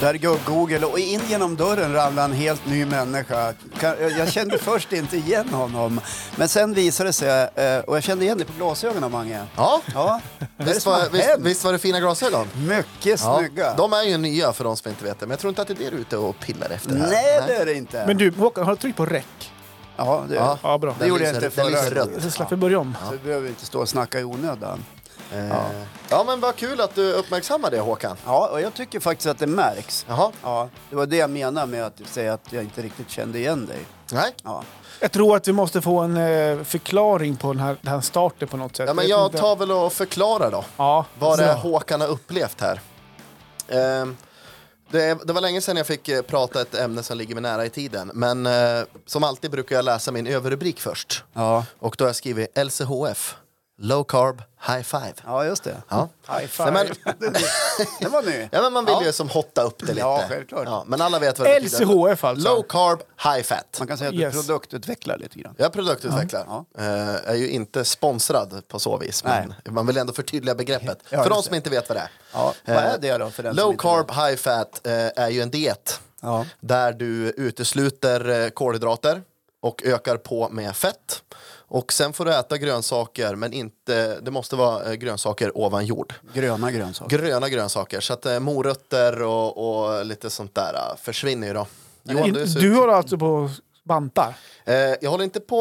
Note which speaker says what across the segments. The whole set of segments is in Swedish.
Speaker 1: Där går Google och in genom dörren ramlar en helt ny människa. Kan- Jag kände först inte igen honom. Men sen visade det sig, eh, och jag kände igen dig på glasögonen Mange.
Speaker 2: Ja,
Speaker 1: Ja, vad är det
Speaker 2: visst,
Speaker 1: som
Speaker 2: var,
Speaker 1: har
Speaker 2: visst,
Speaker 1: hänt?
Speaker 2: visst var det fina glasögon?
Speaker 1: Mycket
Speaker 2: Ja,
Speaker 1: snygga.
Speaker 2: de är ju nya för de som inte vet det, men jag tror inte att det är det du är ute och pillar efter här.
Speaker 1: Nej, det är det inte.
Speaker 3: Men du, Håkan, har du tryckt på räck?
Speaker 1: Ja, det,
Speaker 2: Ja.
Speaker 3: Ja, bra.
Speaker 1: det gjorde
Speaker 2: lyser-
Speaker 1: jag inte
Speaker 2: den
Speaker 1: förra
Speaker 2: lyser rött.
Speaker 1: gången.
Speaker 3: Så slapp vi börja om.
Speaker 1: Så vi behöver inte stå och snacka i onödan.
Speaker 2: Ja. ja, men vad kul att du uppmärksammar det Håkan.
Speaker 1: Ja, och jag tycker faktiskt att det märks.
Speaker 2: Jaha,
Speaker 1: Ja, det var det jag menade med att säga att jag inte riktigt kände igen dig.
Speaker 2: nej.
Speaker 1: Ja.
Speaker 3: Jag tror att vi måste få en eh, förklaring på den här, den här starten på något sätt.
Speaker 2: Ja, men
Speaker 3: vet
Speaker 2: jag
Speaker 3: inte.
Speaker 2: tar väl och förklarar då.
Speaker 3: ja,
Speaker 2: vad det är
Speaker 3: så.
Speaker 2: Håkan har upplevt här. Ehm, det, det var länge sedan jag fick eh, prata ett ämne som ligger mig nära i tiden, men eh, som alltid brukar jag läsa min överrubrik först.
Speaker 1: Ja.
Speaker 2: Och då har jag skrivit LCHF, Low Carb High Five.
Speaker 1: ja, just det.
Speaker 2: Ja.
Speaker 3: High five.
Speaker 2: Nej, men,
Speaker 1: Det var ny.
Speaker 2: ja, men man vill
Speaker 1: Ja.
Speaker 2: ju som hotta upp det lite.
Speaker 1: Ja, självklart.
Speaker 2: men alla vet vad det
Speaker 3: LCHF alltså.
Speaker 2: Low Carb High Fat.
Speaker 1: Man kan säga att du
Speaker 3: Yes.
Speaker 1: produktutvecklar lite grann.
Speaker 2: Jag är produktutvecklare.
Speaker 1: Ja.
Speaker 2: Eh, är ju inte sponsrad på så vis, men man vill ändå förtydliga begreppet.
Speaker 1: Ja,
Speaker 2: för de
Speaker 1: just
Speaker 2: som
Speaker 1: det.
Speaker 2: inte vet vad det är.
Speaker 1: Ja, vad är
Speaker 2: Eh,
Speaker 1: det då för den som
Speaker 2: Low
Speaker 1: inte
Speaker 2: carb, high fat eh, är ju en diet
Speaker 1: Ja.
Speaker 2: där du utesluter eh, kolhydrater och ökar på med fett. Och sen får du äta grönsaker, men inte, det måste vara eh, grönsaker ovan jord.
Speaker 1: Gröna grönsaker.
Speaker 2: Gröna grönsaker, så att eh, morötter och, och lite sånt där eh, försvinner ju då. Johan,
Speaker 3: In-
Speaker 2: du, är så-
Speaker 3: Du har alltså på bantar?
Speaker 2: eh, jag håller inte på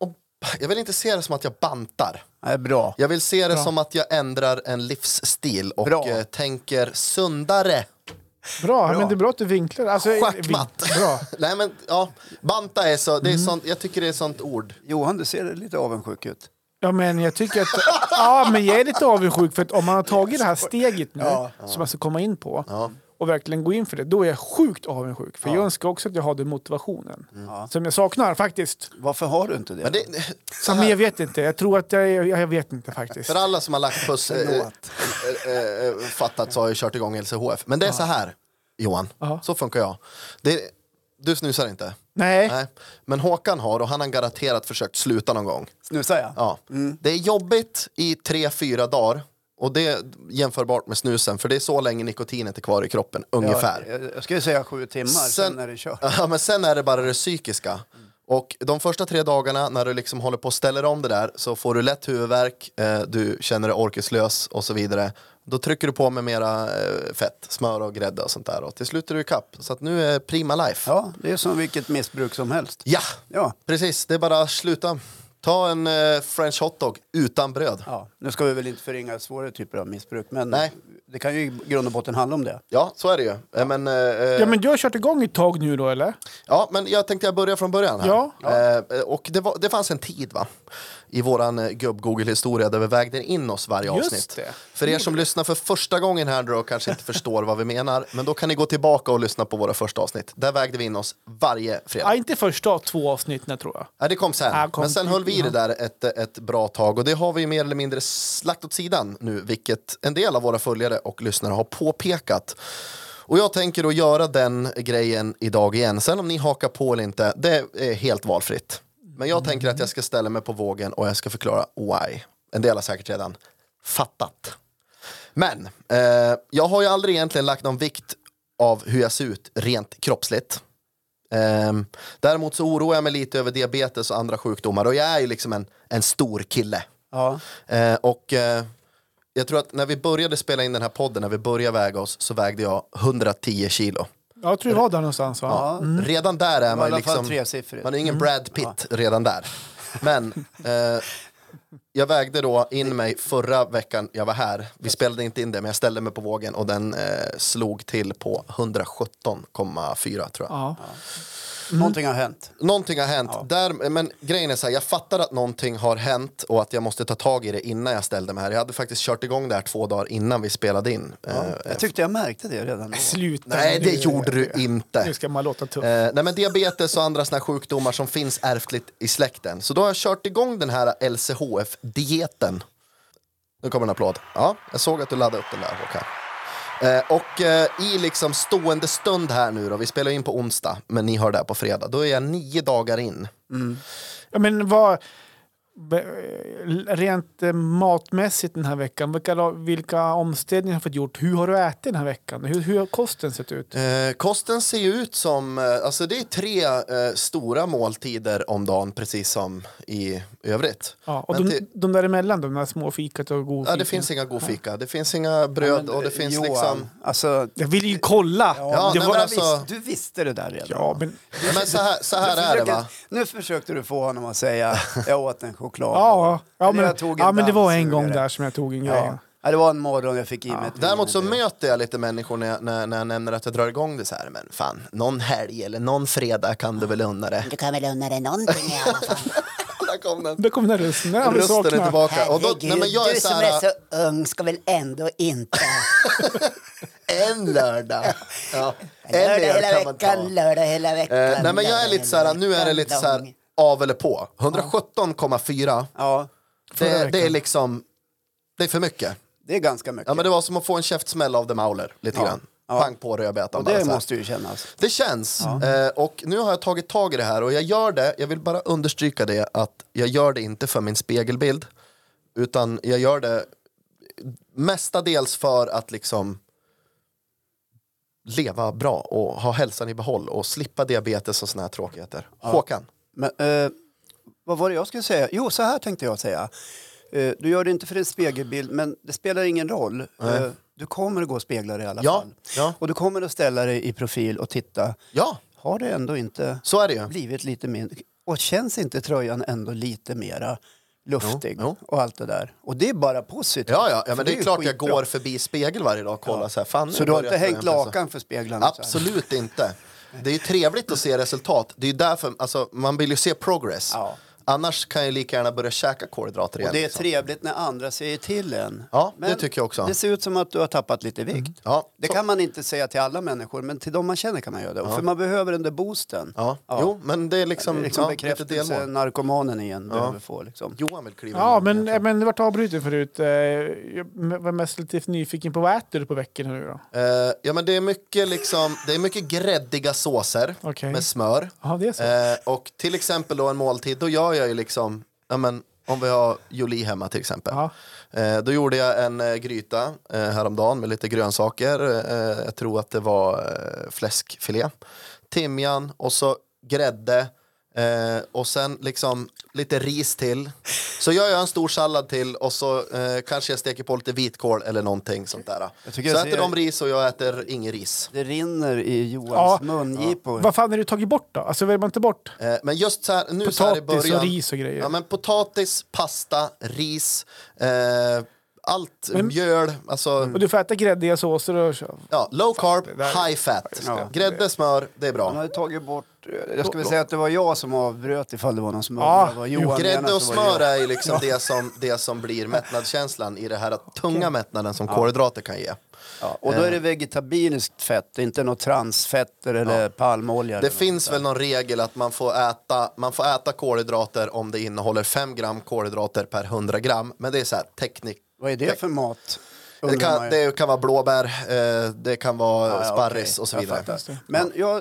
Speaker 2: och, jag vill inte se det som att jag bantar.
Speaker 1: Nej, bra.
Speaker 2: Jag vill se det som att jag ändrar en livsstil och
Speaker 1: Bra.
Speaker 2: eh, tänker sundare.
Speaker 3: Bra, men det är bra att du vinklar. Alltså,
Speaker 2: Schackmatt.
Speaker 3: vi- Bra.
Speaker 2: Nej men ja, banta är så, det är sånt, jag tycker det är sånt ord.
Speaker 1: Johan, du ser lite avundsjuk ut.
Speaker 3: Ja, men jag tycker att... Ja, men jag är lite avundsjuk för att om man har tagit det här steget nu som man ska komma in på och verkligen gå in för det, då är jag sjukt avundsjuk. För jag önskar också att jag hade motivationen.
Speaker 2: Mm.
Speaker 3: Som jag saknar faktiskt.
Speaker 1: Varför har du inte det?
Speaker 2: Men det, så
Speaker 3: Men jag
Speaker 2: här,
Speaker 3: vet inte. Jag tror att jag... är- Jag, jag vet inte faktiskt.
Speaker 2: för alla som har lagt puss eh,
Speaker 1: Förlåt.
Speaker 2: eh, eh, fattat så har jag kört igång LCHF. Men det är så här, Johan,
Speaker 3: Ja.
Speaker 2: så funkar jag. Det, du snusar inte?
Speaker 3: Nej.
Speaker 2: Nej. Men Håkan har och han har garanterat försökt sluta någon gång.
Speaker 1: Snusar jag?
Speaker 2: Ja. Det är jobbigt i tre, fyra dagar. Och det är jämförbart med snusen, för det är så länge nikotinet är kvar i kroppen, ungefär.
Speaker 1: Jag, jag skulle säga sju timmar, sen,
Speaker 2: Sen-
Speaker 1: är det kört.
Speaker 2: Ja, men sen är det bara det psykiska. Och de första tre dagarna när du liksom håller på och ställer om det där så får du lätt huvudvärk, eh, du känner dig orkeslös och så vidare. Då trycker du på med mera eh, fett, smör och grädde och sånt där och till slut är du i kapp. Så att nu är prima life. Ja,
Speaker 1: Ja, det är som vilket missbruk som helst. Ja,
Speaker 2: precis. Det är bara att sluta. Ta en eh, french hotdog utan bröd.
Speaker 1: ja. Nu ska vi väl inte förringa svårare typer av missbruk, men
Speaker 2: Nej.
Speaker 1: det kan ju i grund och botten handla om det.
Speaker 2: Ja, så är det ju. Eh, Men, eh,
Speaker 3: Ja, men du har kört igång ett tag nu då, eller?
Speaker 2: Ja, men jag tänkte jag börjar från början. Här.
Speaker 3: Ja.
Speaker 2: Eh, och det, var, det fanns en tid va? i våran eh, gubb-Google-historia där vi vägde in oss varje
Speaker 3: Just
Speaker 2: avsnitt.
Speaker 3: det.
Speaker 2: För er som lyssnar för första gången här då och kanske inte förstår vad vi menar, men då kan ni gå tillbaka och lyssna på våra första avsnitt. Där vägde vi in oss varje fredag.
Speaker 3: Ja, inte första två avsnitten tror jag.
Speaker 2: Ja, det kom sen.
Speaker 3: Ja, kom-
Speaker 2: Men sen höll vi i det där ett, ett bra tag och det har vi ju mer eller mindre slagt åt sidan nu, vilket en del av våra följare och lyssnare har påpekat. Och jag tänker då göra den grejen idag igen. Sen om ni hakar på eller inte, det är helt valfritt. Men jag tänker att jag ska ställa mig på vågen och jag ska förklara why. En del har säkert redan fattat. Men eh, jag har ju aldrig egentligen lagt någon vikt av hur jag ser ut rent kroppsligt. Ehm, däremot så oroar jag mig lite över diabetes och andra sjukdomar och jag är ju liksom en, en stor kille.
Speaker 1: Ja.
Speaker 2: Eh, och eh, jag tror att när vi började spela in den här podden, när vi började väga oss, så vägde jag 110 kilo.
Speaker 3: Ja, jag tror det var där någonstans va?
Speaker 2: Redan där är
Speaker 1: Det var
Speaker 2: man
Speaker 1: Mm. i alla
Speaker 2: ju
Speaker 1: fall Mm.
Speaker 2: Mm. liksom...
Speaker 1: tresiffrigt.
Speaker 2: Man är ingen Brad Pitt redan där. Men eh, jag vägde då in mig förra veckan jag var här. Vi spelade inte in det, men jag ställde mig på vågen och den eh, slog till på 117,4 tror jag.
Speaker 3: Ja.
Speaker 1: Mm. Någonting har hänt.
Speaker 2: Någonting har hänt. Där, men grejen är så här, jag fattar att någonting har hänt och att jag måste ta tag i det innan jag ställde mig här. Jag hade faktiskt kört igång det här två dagar innan vi spelade in. Eh,
Speaker 1: Jag tyckte jag märkte det redan då.
Speaker 3: Sluta
Speaker 2: nej,
Speaker 3: nu.
Speaker 2: det gjorde du inte.
Speaker 3: Nu ska man låta tuff.
Speaker 2: Eh, nej men diabetes och andra såna sjukdomar som finns ärftligt i släkten. Så då har jag kört igång den här LCHF-dieten. Nu kommer en applåd. Ja, jag såg att du laddade upp den där Håkan. Eh, och eh, i liksom stående stund här nu då, vi spelar in på onsdag men ni hör det här på fredag, då är jag nio dagar in.
Speaker 3: Ja, men vad, be- rent eh, matmässigt den här veckan? Vilka, vilka omställningar har du fått gjort? Hur har du ätit den här veckan? Hur, hur har kosten sett ut?
Speaker 2: Eh, kosten ser ju ut som, eh, alltså det är tre eh, stora måltider om dagen precis som i övrigt.
Speaker 3: Ja, och
Speaker 2: men
Speaker 3: de,
Speaker 2: till-
Speaker 3: de däremellan, de där små fikat och godfikat?
Speaker 2: Ja, det finns inga godfika, det finns inga bröd och det finns
Speaker 1: eh, Johan,
Speaker 2: liksom...
Speaker 1: Alltså,
Speaker 3: Jag vill ju kolla!
Speaker 2: Ja,
Speaker 1: det
Speaker 2: nej,
Speaker 1: var,
Speaker 2: men alltså-
Speaker 1: du visste det där redan.
Speaker 3: Ja, men,
Speaker 2: Ja, Men så här, så
Speaker 1: Du
Speaker 2: här är det
Speaker 1: försöker-
Speaker 2: va?
Speaker 1: Nu försökte du få honom att säga jag åt en choklad.
Speaker 3: ja, ja,
Speaker 1: Eller
Speaker 3: men,
Speaker 1: jag tog en
Speaker 3: ja, men det var en
Speaker 1: dammsugare.
Speaker 3: gång där som jag tog en grej.
Speaker 1: Ja. Ja, det var en morgon jag fick i mig ett
Speaker 2: Däremot så
Speaker 1: vin.
Speaker 2: möter jag lite människor när jag, när, när jag nämner att jag drar igång det så här, men fan, någon helg eller någon fredag kan du väl unna det.
Speaker 4: Du kan väl unna dig någonting i alla fall?
Speaker 2: Där kom den.
Speaker 3: Då kom den här rösten. Nej, vi
Speaker 2: Rösten är
Speaker 3: saknar.
Speaker 2: tillbaka. Och då, nej, men jag är
Speaker 4: du
Speaker 2: så
Speaker 4: som är
Speaker 2: här,
Speaker 4: så ung ska väl ändå inte...
Speaker 2: en lördag. Ja. En
Speaker 4: Lördag
Speaker 2: öl
Speaker 4: hela
Speaker 2: kan man ta.
Speaker 4: veckan, lördag hela veckan.
Speaker 2: Eh, nej men jag är
Speaker 4: lördag
Speaker 2: lite så här,
Speaker 4: hela
Speaker 2: nu är det
Speaker 4: veckan
Speaker 2: lite så här
Speaker 4: lång.
Speaker 2: av eller på. 117,4,
Speaker 1: Ja,
Speaker 2: det, det är liksom, det är för mycket.
Speaker 1: det är ganska mycket.
Speaker 2: Ja men det var som att få en käftsmäll av The Mauler, lite
Speaker 1: Ja.
Speaker 2: grann.
Speaker 1: Ja.
Speaker 2: Pang på rödbetan
Speaker 1: och
Speaker 2: bara
Speaker 1: det
Speaker 2: så här.
Speaker 1: måste ju kännas.
Speaker 2: Det känns. Eh, och nu har jag tagit tag i det här och jag gör det, jag vill bara understryka det att jag gör det inte för min spegelbild. Utan jag gör det mestadels för att liksom leva bra och ha hälsan i behåll och slippa diabetes och såna här tråkigheter. Håkan?
Speaker 1: Men, eh, vad var det jag skulle säga? Jo, så här tänkte jag säga. Eh, du gör det inte för en spegelbild, men det spelar ingen roll. Eh, du kommer att gå och spegla dig i alla
Speaker 2: Ja,
Speaker 1: fall.
Speaker 2: ja.
Speaker 1: Och du kommer att ställa dig i profil och titta.
Speaker 2: Ja,
Speaker 1: Har det ändå inte
Speaker 2: så är det ju.
Speaker 1: blivit lite mindre? Och känns inte tröjan ändå lite mera luftig
Speaker 2: Jo, jo.
Speaker 1: och allt det där? Och det är bara positivt.
Speaker 2: Ja, ja, ja
Speaker 1: För
Speaker 2: men det
Speaker 1: ju
Speaker 2: är klart jag
Speaker 1: skitbra.
Speaker 2: går förbi spegel varje dag och kollar så här. Fan, nu
Speaker 1: Så du har
Speaker 2: börjar
Speaker 1: inte hängt
Speaker 2: tröjan pressa.
Speaker 1: lakan alltså? för speglarna? så här?
Speaker 2: Absolut inte. Det är ju trevligt att se resultat. Det är ju därför, alltså, man vill ju se progress.
Speaker 1: Ja.
Speaker 2: Annars kan jag lika gärna börja käka kolhydrater igen.
Speaker 1: Och det är
Speaker 2: liksom.
Speaker 1: trevligt när andra säger till en.
Speaker 2: Ja, det tycker jag också. Mm.
Speaker 1: Det ser ut som att du har tappat lite vikt.
Speaker 2: Ja,
Speaker 1: Det
Speaker 2: så-
Speaker 1: kan man inte säga till alla människor, men till de man känner kan man göra det. För man behöver den där boosten.
Speaker 2: ja. Jo, men det är
Speaker 1: Det
Speaker 2: liksom,
Speaker 1: är liksom
Speaker 2: ja, lite
Speaker 1: bekräftelse
Speaker 2: delmål.
Speaker 1: narkomanen igen behöver få. Liksom.
Speaker 2: Johan vill kliva
Speaker 3: Ja,
Speaker 2: in.
Speaker 3: men, eh, men du vart avbruten förut. Eh, Jag var mest lite nyfiken på vad äter du på veckorna nu då?
Speaker 2: Eh, ja, men det är mycket, liksom, det är mycket gräddiga såser
Speaker 3: Okej.
Speaker 2: med smör.
Speaker 3: Ja, det är så.
Speaker 2: Eh, och till exempel då en måltid, då gör jag ju liksom, ja, men, om vi har Jolie hemma till exempel.
Speaker 3: Ja.
Speaker 2: Eh, då gjorde jag en eh, gryta eh, häromdagen med lite grönsaker. Eh, jag tror att det var eh, fläskfilé, timjan och så grädde. Eh, och sen liksom lite ris till. Så gör jag en stor sallad till och så eh, kanske jag steker på lite vitkål eller någonting sånt där.
Speaker 1: Jag
Speaker 2: Så
Speaker 1: tycker jag
Speaker 2: äter
Speaker 1: ser-
Speaker 2: de ris och jag äter ingen ris.
Speaker 1: Det rinner i Johans
Speaker 3: Ja.
Speaker 1: mungipor.
Speaker 3: Vad fan har du tagit bort då? Alltså väljer man inte bort?
Speaker 2: Eh, Men just så här, nu så här i
Speaker 3: Potatis och
Speaker 2: början.
Speaker 3: ris och grejer.
Speaker 2: Ja, men potatis, pasta, ris, eh, allt, mjöl, alltså
Speaker 3: Och du får äta gräddiga såser och så.
Speaker 2: ja, low carb, high fat.
Speaker 1: Ja.
Speaker 2: Grädde, smör, det är
Speaker 1: Han
Speaker 2: bra.
Speaker 1: hade tagit bort... eh, Jag skulle säga att det var jag som avbröt ifall det var någon som
Speaker 3: Ja,
Speaker 1: undrade vad Johan
Speaker 2: Grädde
Speaker 1: menade
Speaker 2: och
Speaker 1: så var det jag.
Speaker 2: smör är ju liksom det, som, det som blir mättnadskänslan i det här tunga mättnaden som kolhydrater kan ge.
Speaker 1: Ja, och då är det
Speaker 2: Eh.
Speaker 1: vegetabiliskt fett, inte något transfetter eller palmolja. eller
Speaker 2: Det
Speaker 1: något
Speaker 2: finns
Speaker 1: sånt där.
Speaker 2: väl någon regel att man får, äta, man får äta kolhydrater om det innehåller 5 gram kolhydrater per 100 gram. Men det är så här teknik,
Speaker 1: Vad är det för mat?
Speaker 2: Det
Speaker 1: undrar man
Speaker 2: kan,
Speaker 1: ju.
Speaker 2: det kan vara blåbär, eh, det kan vara
Speaker 1: Ja, ja,
Speaker 2: sparris
Speaker 1: okej.
Speaker 2: och så
Speaker 1: Jag
Speaker 2: vidare.
Speaker 1: fattar. Men jag,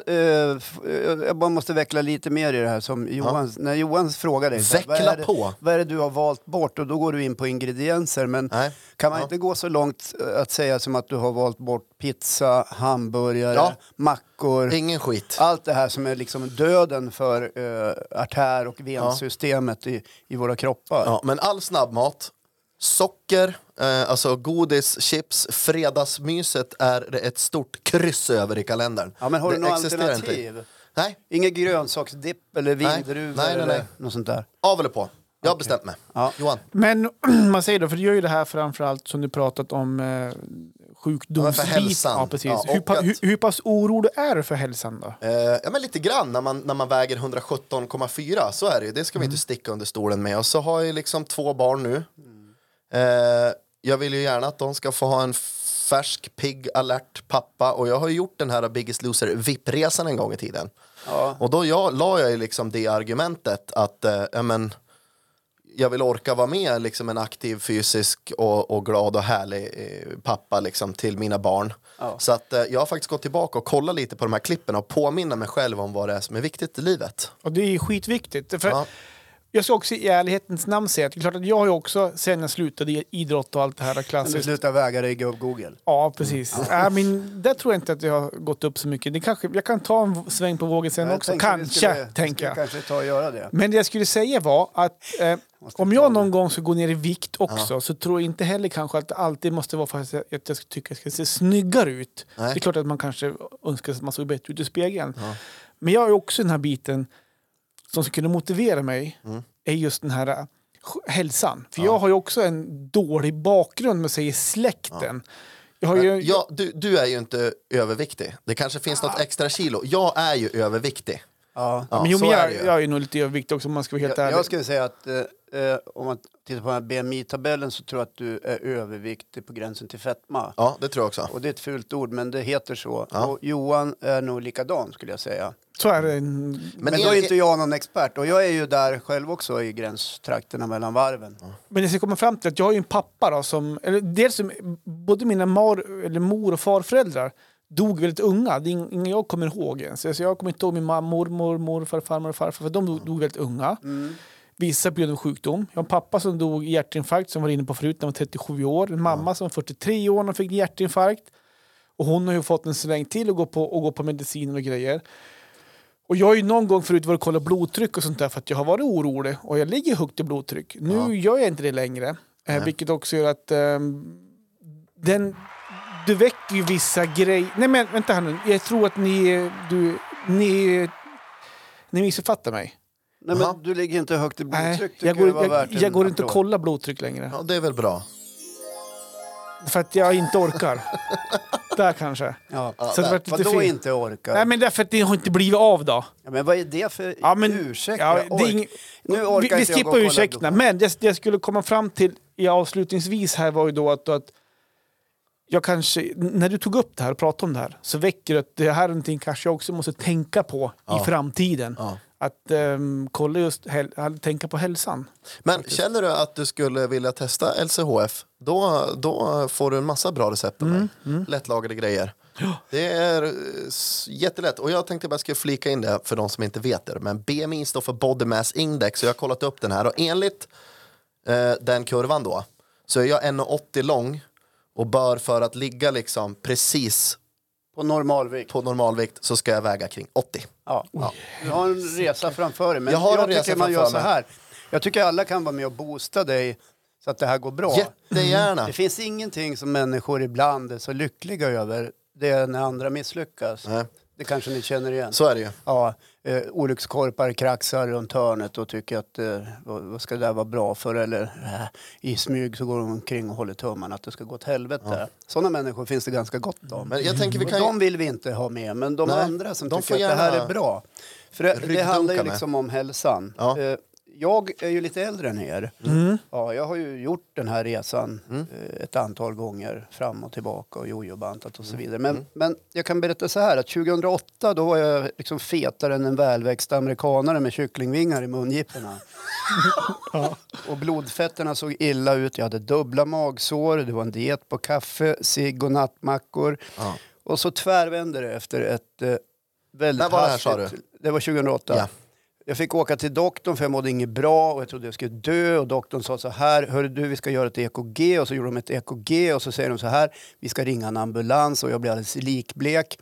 Speaker 1: eh, f- eh, jag bara måste veckla lite mer i det här som Johan, när Johan frågar dig. så här,
Speaker 2: Veckla
Speaker 1: vad är det,
Speaker 2: på.
Speaker 1: Vad är det du har valt bort? Och då går du in på ingredienser. Men
Speaker 2: Nej.
Speaker 1: kan man inte gå så långt eh, att säga som att du har valt bort pizza, hamburgare,
Speaker 2: Ja.
Speaker 1: mackor.
Speaker 2: Ingen skit.
Speaker 1: Allt det här som är liksom döden för eh, artär och vensystemet i, i våra kroppar.
Speaker 2: Ja, men all snabbmat, socker, eh, alltså godis, chips, fredagsmyset är det ett stort kryss över i kalendern.
Speaker 1: Ja, men har
Speaker 2: det
Speaker 1: du något
Speaker 2: existerar inte.
Speaker 1: alternativ?
Speaker 2: Nej,
Speaker 1: Inget grönsaksdipp eller
Speaker 2: Nej.
Speaker 1: vindruvor
Speaker 2: Nej, nej,
Speaker 1: eller
Speaker 2: nej.
Speaker 1: något sånt där?
Speaker 2: av eller på. Jag har bestämt mig.
Speaker 1: Ja.
Speaker 2: Johan,
Speaker 3: Men man säger då, för du gör ju det här framförallt som du pratat om eh, sjukdoms-
Speaker 2: Ja, för hälsan.
Speaker 3: Ja, precis.
Speaker 2: Ja, och
Speaker 3: hur, pa-
Speaker 2: att-
Speaker 3: hur, hur pass orolig är du för hälsan då?
Speaker 2: eh, ja, men lite grann när man, när man väger 117,4 så är det ju. Det
Speaker 1: Mm.
Speaker 2: ska vi inte sticka under stolen med. Och så har jag ju liksom två barn nu. Eh, jag vill ju gärna att de ska få ha en färsk, pigg, alert pappa. Och jag har ju gjort den här Biggest Loser VIP-resan en gång i tiden.
Speaker 1: Ja.
Speaker 2: Och då jag, la jag ju liksom det argumentet att eh, ja, men, jag vill orka vara med liksom en aktiv, fysisk och, och glad och härlig eh, pappa liksom, till mina barn. Så att eh, jag har faktiskt gått tillbaka och kollat lite på de här klippen och påminna mig själv om vad det är som är viktigt i livet.
Speaker 3: Och det är ju skitviktigt. För
Speaker 2: Ja.
Speaker 3: jag ska också i ärlighetens namn säga att det är klart att jag har ju också, sen jag slutade i idrott och allt det här
Speaker 1: Men du Mm.
Speaker 3: klassiskt.
Speaker 1: slutar väga dig i Google.
Speaker 3: Ja, precis. Ja, men där tror jag inte att jag har gått upp så mycket. Det kanske, jag kan ta en v- sväng på vågen sen
Speaker 1: Jag
Speaker 3: också.
Speaker 1: tänkte vi
Speaker 3: Kanske,
Speaker 1: skulle- vi
Speaker 3: tänker
Speaker 1: skulle
Speaker 3: jag.
Speaker 1: kanske ta och göra det.
Speaker 3: Men det jag skulle säga var att eh, om jag någon gång ska gå ner i vikt också så tror jag inte heller kanske att det alltid måste vara för att jag, att jag ska tycka att jag ska se snyggare ut.
Speaker 2: Nej.
Speaker 3: Det är klart att man kanske önskar att man såg bättre ut i spegeln. Men jag är också den här biten som skulle kunna motivera mig
Speaker 2: Mm.
Speaker 3: är just den här eh, sj- hälsan. För jag har ju också en dålig bakgrund med sig i släkten. Jag har ju,
Speaker 2: Eh, Ja, du, du är ju inte överviktig. Det kanske finns något extra kilo. Jag är ju överviktig.
Speaker 1: Ja.
Speaker 2: Ja,
Speaker 3: Ah. men jo,
Speaker 2: så
Speaker 3: men
Speaker 2: är
Speaker 3: jag,
Speaker 2: det ju.
Speaker 3: jag är ju nog lite överviktig också om man ska vara helt
Speaker 1: Jag,
Speaker 3: ärlig.
Speaker 1: jag skulle säga att eh, eh, om man tittar på den här BMI-tabellen så tror jag att du är överviktig på gränsen till fetma.
Speaker 2: Ja, det tror jag också.
Speaker 1: Och det är ett fult ord, men det heter så.
Speaker 2: Ja.
Speaker 1: Och Johan är nog likadan skulle jag säga.
Speaker 3: Så är det. en-
Speaker 1: Men,
Speaker 2: en-
Speaker 1: då är inte jag någon expert. Och jag är ju där själv också i gränstrakterna mellan varven.
Speaker 3: Men jag ska komma fram till att jag har ju en pappa då som, eller dels som, både mina mar, eller mor och farföräldrar dog väldigt unga. Det är ing- ingen jag kommer ihåg ens. Alltså jag kommer inte ihåg min mam- mormor, morfar, farmor och farfar för de dog, dog väldigt unga. Vissa på grund av sjukdom. Jag har en pappa som dog i hjärtinfarkt som var inne på förut när han var 37 år. En mamma som var 43 år när hon fick hjärtinfarkt. Och hon har ju fått en släng till och gå på, och gå på mediciner och grejer. Och jag har ju någon gång förut varit och kollat blodtryck och sånt där för att jag har varit orolig och jag ligger högt i blodtryck. Nu gör jag inte det längre, eh, vilket också gör att ehm, den, du väcker ju vissa grejer. Nej men vänta här nu, jag tror att ni, du, ni, ni missuppfattar mig.
Speaker 1: Nej,
Speaker 2: Jaha.
Speaker 1: men du ligger inte högt i blodtryck.
Speaker 3: Nej,
Speaker 1: Tycker
Speaker 3: jag
Speaker 1: det var
Speaker 3: går, jag,
Speaker 1: värt en
Speaker 3: jag går inte och
Speaker 1: applåd.
Speaker 3: kollar blodtryck längre
Speaker 2: Ja, det är väl bra.
Speaker 3: för att jag inte orkar. där kanske.
Speaker 1: Ja.
Speaker 3: Så det vart lite
Speaker 1: Vadå
Speaker 3: fel.
Speaker 1: inte orkar?
Speaker 3: Nej men därför att det har inte blivit av då.
Speaker 1: Ja, men vad är det för
Speaker 3: Ja, men-
Speaker 1: ursäkt?
Speaker 3: ja,
Speaker 1: Jag
Speaker 3: det är
Speaker 1: ork-
Speaker 3: ing-
Speaker 1: Nu orkar
Speaker 3: vi, vi
Speaker 1: inte jag gå
Speaker 3: skippar
Speaker 1: och kolla
Speaker 3: ursäkterna,
Speaker 1: blod.
Speaker 3: men det, det jag skulle komma fram till i avslutningsvis här var ju då att, att jag kanske, när du tog upp det här och pratade om det här så väcker det att det här är någonting kanske jag också måste tänka på i framtiden.
Speaker 2: Ja.
Speaker 3: Att ehm, kolla just, häl- tänka på hälsan.
Speaker 2: Men känner du att du skulle vilja testa LCHF, då, då får du en massa bra recept av mig. Lättlagade grejer. Det är eh, s- jättelätt. Och jag tänkte bara skulle flika in det för de som inte vet det. Men BMI står för Body Mass Index. Så jag har kollat upp den här och enligt eh, den kurvan då så är jag 1,80 lång och bör för att ligga liksom precis
Speaker 1: På normalvikt.
Speaker 2: på normalvikt så ska jag väga kring 80.
Speaker 1: Ja.
Speaker 3: Oh,
Speaker 1: Du har en resa framför dig. Men
Speaker 2: Jag har en resa
Speaker 1: tycker man gör
Speaker 2: framför
Speaker 1: så
Speaker 2: mig.
Speaker 1: här. Jag tycker alla kan vara med och boosta dig så att det här går bra.
Speaker 2: Jättegärna.
Speaker 1: Det finns ingenting som människor ibland är så lyckliga över. Det är när andra misslyckas.
Speaker 2: Nej.
Speaker 1: Det kanske ni känner igen.
Speaker 2: Så är det ju.
Speaker 1: Ja, eh, olyckskorpar kraxar runt hörnet och tycker att eh, vad, vad ska det där vara bra för? Eller eh, i smyg så går de omkring och håller tummarna att det ska gå åt helvete. Sådana människor finns det ganska gott om.
Speaker 2: Men jag tänker vi
Speaker 1: Och
Speaker 2: kan
Speaker 1: De
Speaker 2: ju...
Speaker 1: vill vi inte ha med, men de
Speaker 2: Nej,
Speaker 1: andra som
Speaker 2: de
Speaker 1: tycker
Speaker 2: får
Speaker 1: att det här
Speaker 2: gärna
Speaker 1: är bra. För det, det
Speaker 2: ryggdunka
Speaker 1: handlar ju
Speaker 2: med.
Speaker 1: liksom om hälsan.
Speaker 2: Ja. Mm.
Speaker 1: Eh, Jag är ju lite äldre än er. Ja, jag har ju gjort den här resan eh, ett antal gånger fram och tillbaka och jojobantat och så
Speaker 2: Mm.
Speaker 1: vidare. Men, men jag kan berätta så här att 2008 då var jag liksom fetare än en välväxt amerikanare med kycklingvingar i mungiporna. Och blodfetterna såg illa ut. Jag hade dubbla magsår. Det var en diet på kaffe, cigg och nattmackor.
Speaker 2: Ja.
Speaker 1: Och så tvärvände det efter ett eh, väldigt
Speaker 2: När var det här, sa
Speaker 1: hastigt- Alltså, Det var 2008.
Speaker 2: Ja.
Speaker 1: Jag fick åka till doktorn för jag mådde inget bra och jag trodde jag skulle dö. Och doktorn sa så här, hörru du vi ska göra ett EKG. Och så gjorde de ett EKG och så säger de så här, vi ska ringa en ambulans och jag blir alldeles likblek.